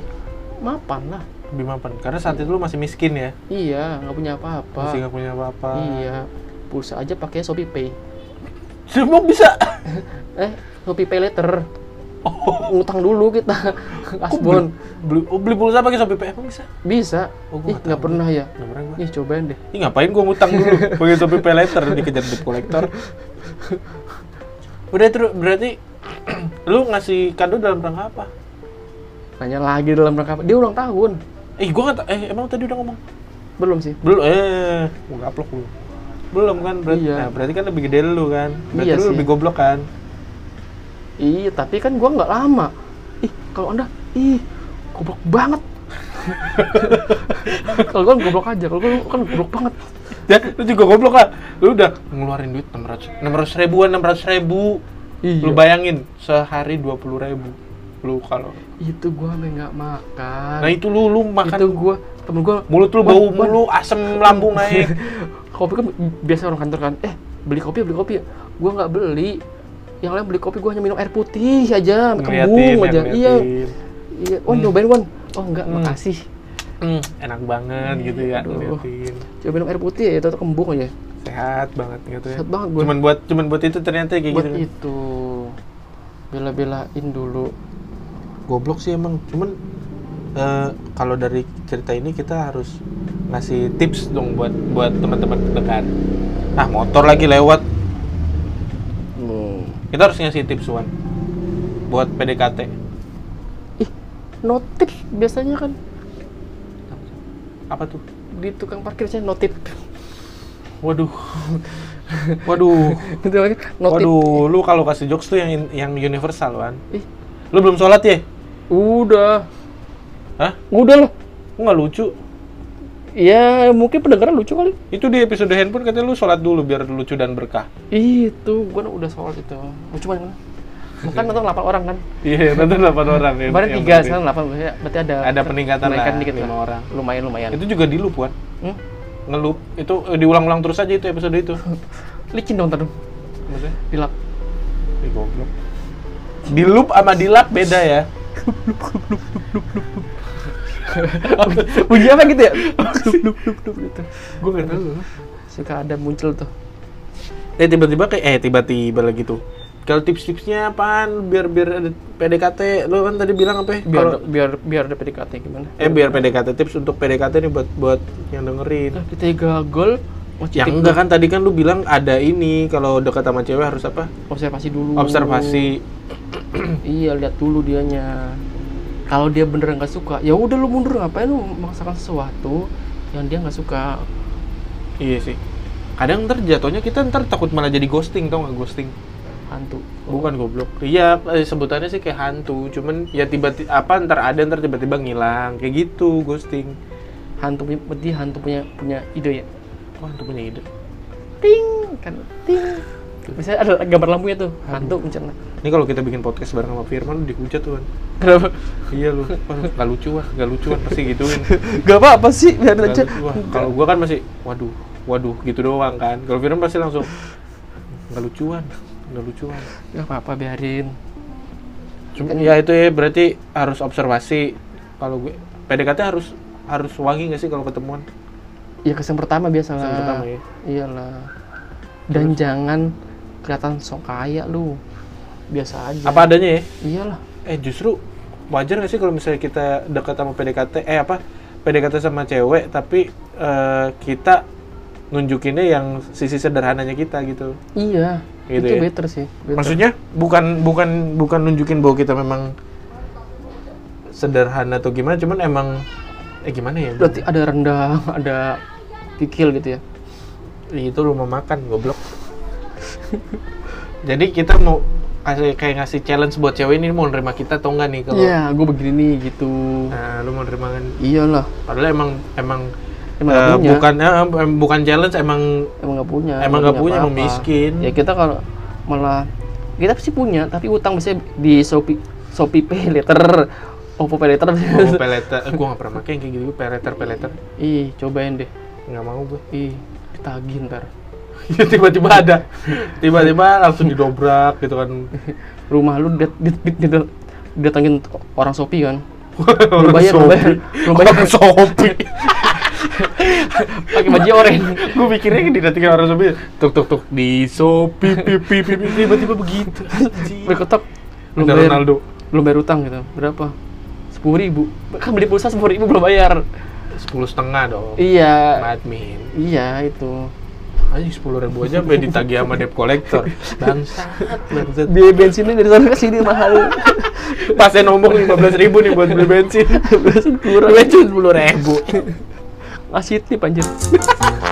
Speaker 2: mapan lah.
Speaker 1: lebih mapan karena saat itu lu masih miskin ya
Speaker 2: Iya, nggak punya apa-apa.
Speaker 1: masih nggak punya apa-apa
Speaker 2: Iya, pulsa aja pakai Shopee Pay.
Speaker 1: semua bisa
Speaker 2: Eh, Shopee Pay later. Ngutang dulu kita. Asbon
Speaker 1: beli, oh, beli pulsa pakai shopee pay emang bisa
Speaker 2: bisa.
Speaker 1: Oh, gua
Speaker 2: Ih,
Speaker 1: nggak
Speaker 2: nggak
Speaker 1: tahu.
Speaker 2: pernah ya.
Speaker 1: Beneran gua.
Speaker 2: Ih, cobain deh.
Speaker 1: Ih, ngapain gua ngutang dulu pakai shopee pay later dikejar debt collector udah terus berarti lu ngasih kado dalam rangka apa
Speaker 2: Nanya lagi dalam rangka apa? Dia ulang tahun.
Speaker 1: eh gua nggak ta- eh emang tadi udah ngomong
Speaker 2: Belum sih.
Speaker 1: belum eh mau upload belum belum kan berarti
Speaker 2: Iya.
Speaker 1: nah, berarti kan lebih gede lu kan berarti
Speaker 2: Iya
Speaker 1: lu
Speaker 2: sih.
Speaker 1: lebih goblok kan
Speaker 2: Iya, tapi kan gua nggak lama. Ih, kalau Anda ih, goblok banget. kalau gua goblok aja, kalau gua kan goblok banget.
Speaker 1: ya lu juga goblok lah lu udah ngeluarin duit enam ratus ribuan enam ratus ribu
Speaker 2: Iya.
Speaker 1: lu bayangin sehari dua puluh ribu lu kalau
Speaker 2: itu gua sampe nggak makan
Speaker 1: nah itu lu lu makan
Speaker 2: itu gua temen gua
Speaker 1: mulut lu
Speaker 2: Wan,
Speaker 1: bau
Speaker 2: Wan,
Speaker 1: mulu asem lambung naik
Speaker 2: ya, kopi kan biasa orang kantor kan eh beli kopi beli kopi gua nggak beli yang lain beli kopi gue hanya minum air putih aja
Speaker 1: Ngeliatin,
Speaker 2: kembung aja
Speaker 1: ngeliatin.
Speaker 2: iya iya wan nyobain wan oh enggak
Speaker 1: Hmm.
Speaker 2: makasih
Speaker 1: Hmm, enak banget gitu ya
Speaker 2: aduh.
Speaker 1: ngeliatin.
Speaker 2: coba minum air putih ya tau kembung aja
Speaker 1: Sehat banget gitu ya.
Speaker 2: Sehat banget gue.
Speaker 1: Cuman buat cuman buat itu ternyata kayak
Speaker 2: buat
Speaker 1: gitu.
Speaker 2: itu bela-belain dulu
Speaker 1: Goblok sih emang. Cuman eh, kalau dari cerita ini kita harus ngasih tips dong buat buat teman-teman dekat. Ah, motor lagi lewat.
Speaker 2: Hmm.
Speaker 1: Kita harus ngasih tips Wan buat PDKT.
Speaker 2: ih no tip biasanya kan
Speaker 1: Apa tuh?
Speaker 2: di tukang parkir saya no tip
Speaker 1: Waduh. Waduh.
Speaker 2: Gitu lagi, no tip
Speaker 1: Waduh, lu kalau kasih jokes tuh yang in- yang universal, Wan.
Speaker 2: ih
Speaker 1: Lu belum sholat ya?
Speaker 2: udah
Speaker 1: Hah?
Speaker 2: udah lah
Speaker 1: Kok nggak lucu?
Speaker 2: ya mungkin pendengaran lucu kali
Speaker 1: Itu di episode handphone katanya lu sholat dulu biar lucu dan berkah.
Speaker 2: itu gue udah soal itu lucu banget kan Bukan nonton 8 orang kan?
Speaker 1: Iya, nonton 8 orang ya.
Speaker 2: Kemarin
Speaker 1: yang
Speaker 2: 3,
Speaker 1: penting.
Speaker 2: sekarang 8 berarti berarti ada
Speaker 1: Ada peningkatan lah,
Speaker 2: dikit
Speaker 1: lima
Speaker 2: lah.
Speaker 1: orang.
Speaker 2: Lumayan lumayan.
Speaker 1: Itu juga di loop, Wan.
Speaker 2: Hmm?
Speaker 1: Ngelup. Itu eh, diulang-ulang terus aja itu episode itu.
Speaker 2: Licin dong tadi.
Speaker 1: Maksudnya?
Speaker 2: Dilap.
Speaker 1: Ih, goblok. Di loop sama di lap beda ya.
Speaker 2: Bunyi apa gitu ya? Lup lup lup lup gitu.
Speaker 1: Gue gak tahu.
Speaker 2: Suka ada muncul tuh.
Speaker 1: Eh tiba-tiba kayak eh tiba-tiba lagi tuh. Kalau tips-tipsnya apaan biar biar ada PDKT lu kan tadi bilang apa? ya?
Speaker 2: Biar
Speaker 1: Kalau-
Speaker 2: biar biar ada PDKT gimana?
Speaker 1: eh biar PDKT tips untuk PDKT nih buat buat yang dengerin.
Speaker 2: Nah, kita Oh, gagal mau
Speaker 1: Yang enggak kan tadi kan lu bilang ada ini kalau dekat sama cewek harus apa?
Speaker 2: observasi dulu.
Speaker 1: Observasi.
Speaker 2: Iya, lihat dulu dianya. Kalau dia beneran nggak suka, ya udah lu mundur ngapain lu memaksakan sesuatu yang dia nggak suka.
Speaker 1: Iya sih. Kadang ntar jatuhnya kita ntar takut malah jadi ghosting tau nggak ghosting?
Speaker 2: Hantu.
Speaker 1: Bukan goblok. Iya eh, sebutannya sih kayak hantu. Cuman ya tiba-tiba apa ntar ada ntar tiba-tiba ngilang kayak gitu ghosting.
Speaker 2: Hantu punya berarti hantu punya punya ide ya.
Speaker 1: Wah hantu punya ide.
Speaker 2: Ting kan ting. Biasanya ada gambar lampunya tuh, hantu mencerna.
Speaker 1: Ini kalau kita bikin podcast bareng sama Firman lu dihujat tuh kan.
Speaker 2: Kenapa?
Speaker 1: Iya lu. Waduh, nggak lucu wah, nggak lucu kan pasti gituin.
Speaker 2: Gak apa-apa sih,
Speaker 1: Nggak
Speaker 2: biarin aja.
Speaker 1: lucu, wah. Kalau gua kan masih waduh, waduh gitu doang kan. Kalau Firman pasti langsung nggak lucuan, nggak lucuan.
Speaker 2: Gak apa-apa, biarin.
Speaker 1: Cuma- ya itu ya berarti harus observasi kalau gue PDKT harus harus wangi nggak sih kalau ketemuan
Speaker 2: Ya kesan pertama biasa lah.
Speaker 1: Kesan pertama ya.
Speaker 2: Iyalah. Dan jangan kelihatan sok kaya lu. Biasa aja.
Speaker 1: apa adanya ya
Speaker 2: Iyalah.
Speaker 1: eh justru wajar nggak sih kalau misalnya kita dekat sama PDKT eh apa PDKT sama cewek tapi eh, kita nunjukinnya yang sisi sederhananya kita gitu
Speaker 2: Iya.
Speaker 1: Gitu
Speaker 2: itu
Speaker 1: ya?
Speaker 2: better sih. Better.
Speaker 1: maksudnya bukan bukan bukan nunjukin bahwa kita memang sederhana atau gimana cuman emang eh gimana ya
Speaker 2: berarti ada rendang, ada kikil gitu ya.
Speaker 1: itu rumah makan goblok jadi kita mau kasih kayak ngasih challenge buat cewek ini mau nerima kita atau enggak nih kalau
Speaker 2: Iya, gue begini nih gitu.
Speaker 1: nah, lu mau nerima kan
Speaker 2: Iyalah.
Speaker 1: padahal emang emang,
Speaker 2: Emang
Speaker 1: eh,
Speaker 2: nggak punya.
Speaker 1: bukan eh, em- bukan challenge emang
Speaker 2: Emang nggak punya.
Speaker 1: Emang nggak punya, emang
Speaker 2: apa-apa.
Speaker 1: miskin.
Speaker 2: Ya kita kalau malah kita sih punya, tapi utang biasanya di Shopee Shopee Pay Later, Oppo Pay Later.
Speaker 1: oh, peleter eh, gua nggak pernah pakai yang kayak gitu peleter peleter
Speaker 2: Ih, cobain deh.
Speaker 1: nggak mau gue
Speaker 2: Ih, ditagih ntar.
Speaker 1: ya tiba-tiba ada tiba-tiba langsung didobrak gitu kan
Speaker 2: Rumah lu dat dit- dit- dit- didatangin orang Shopee kan.
Speaker 1: Orang
Speaker 2: bayar, belum
Speaker 1: Shopee.
Speaker 2: bayar. Belum bayar.
Speaker 1: Orang Shopee.
Speaker 2: Pakai baju oranye.
Speaker 1: gue mikirnya kan didatengin orang Shopee tuk tuk tuk di Shopee pipi pipi tiba-tiba begitu
Speaker 2: Berkotok. Belum
Speaker 1: Ada
Speaker 2: bayar,
Speaker 1: Ronaldo.
Speaker 2: belum bayar utang gitu. Berapa? Sepuluh ribu. Kan beli pulsa sepuluh ribu belum bayar.
Speaker 1: sepuluh setengah dong
Speaker 2: Iya.
Speaker 1: sama admin
Speaker 2: Iya itu.
Speaker 1: anjing sepuluh ribu aja sampai ditagih sama debt collector bangsat bangsat
Speaker 2: Biaya bensinnya dari sana ke sini mahal.
Speaker 1: pas saya ngomong lima belas ribu nih buat beli bensin
Speaker 2: Bensin kurang.
Speaker 1: bensin sepuluh ribu
Speaker 2: Ngasih tip anjir.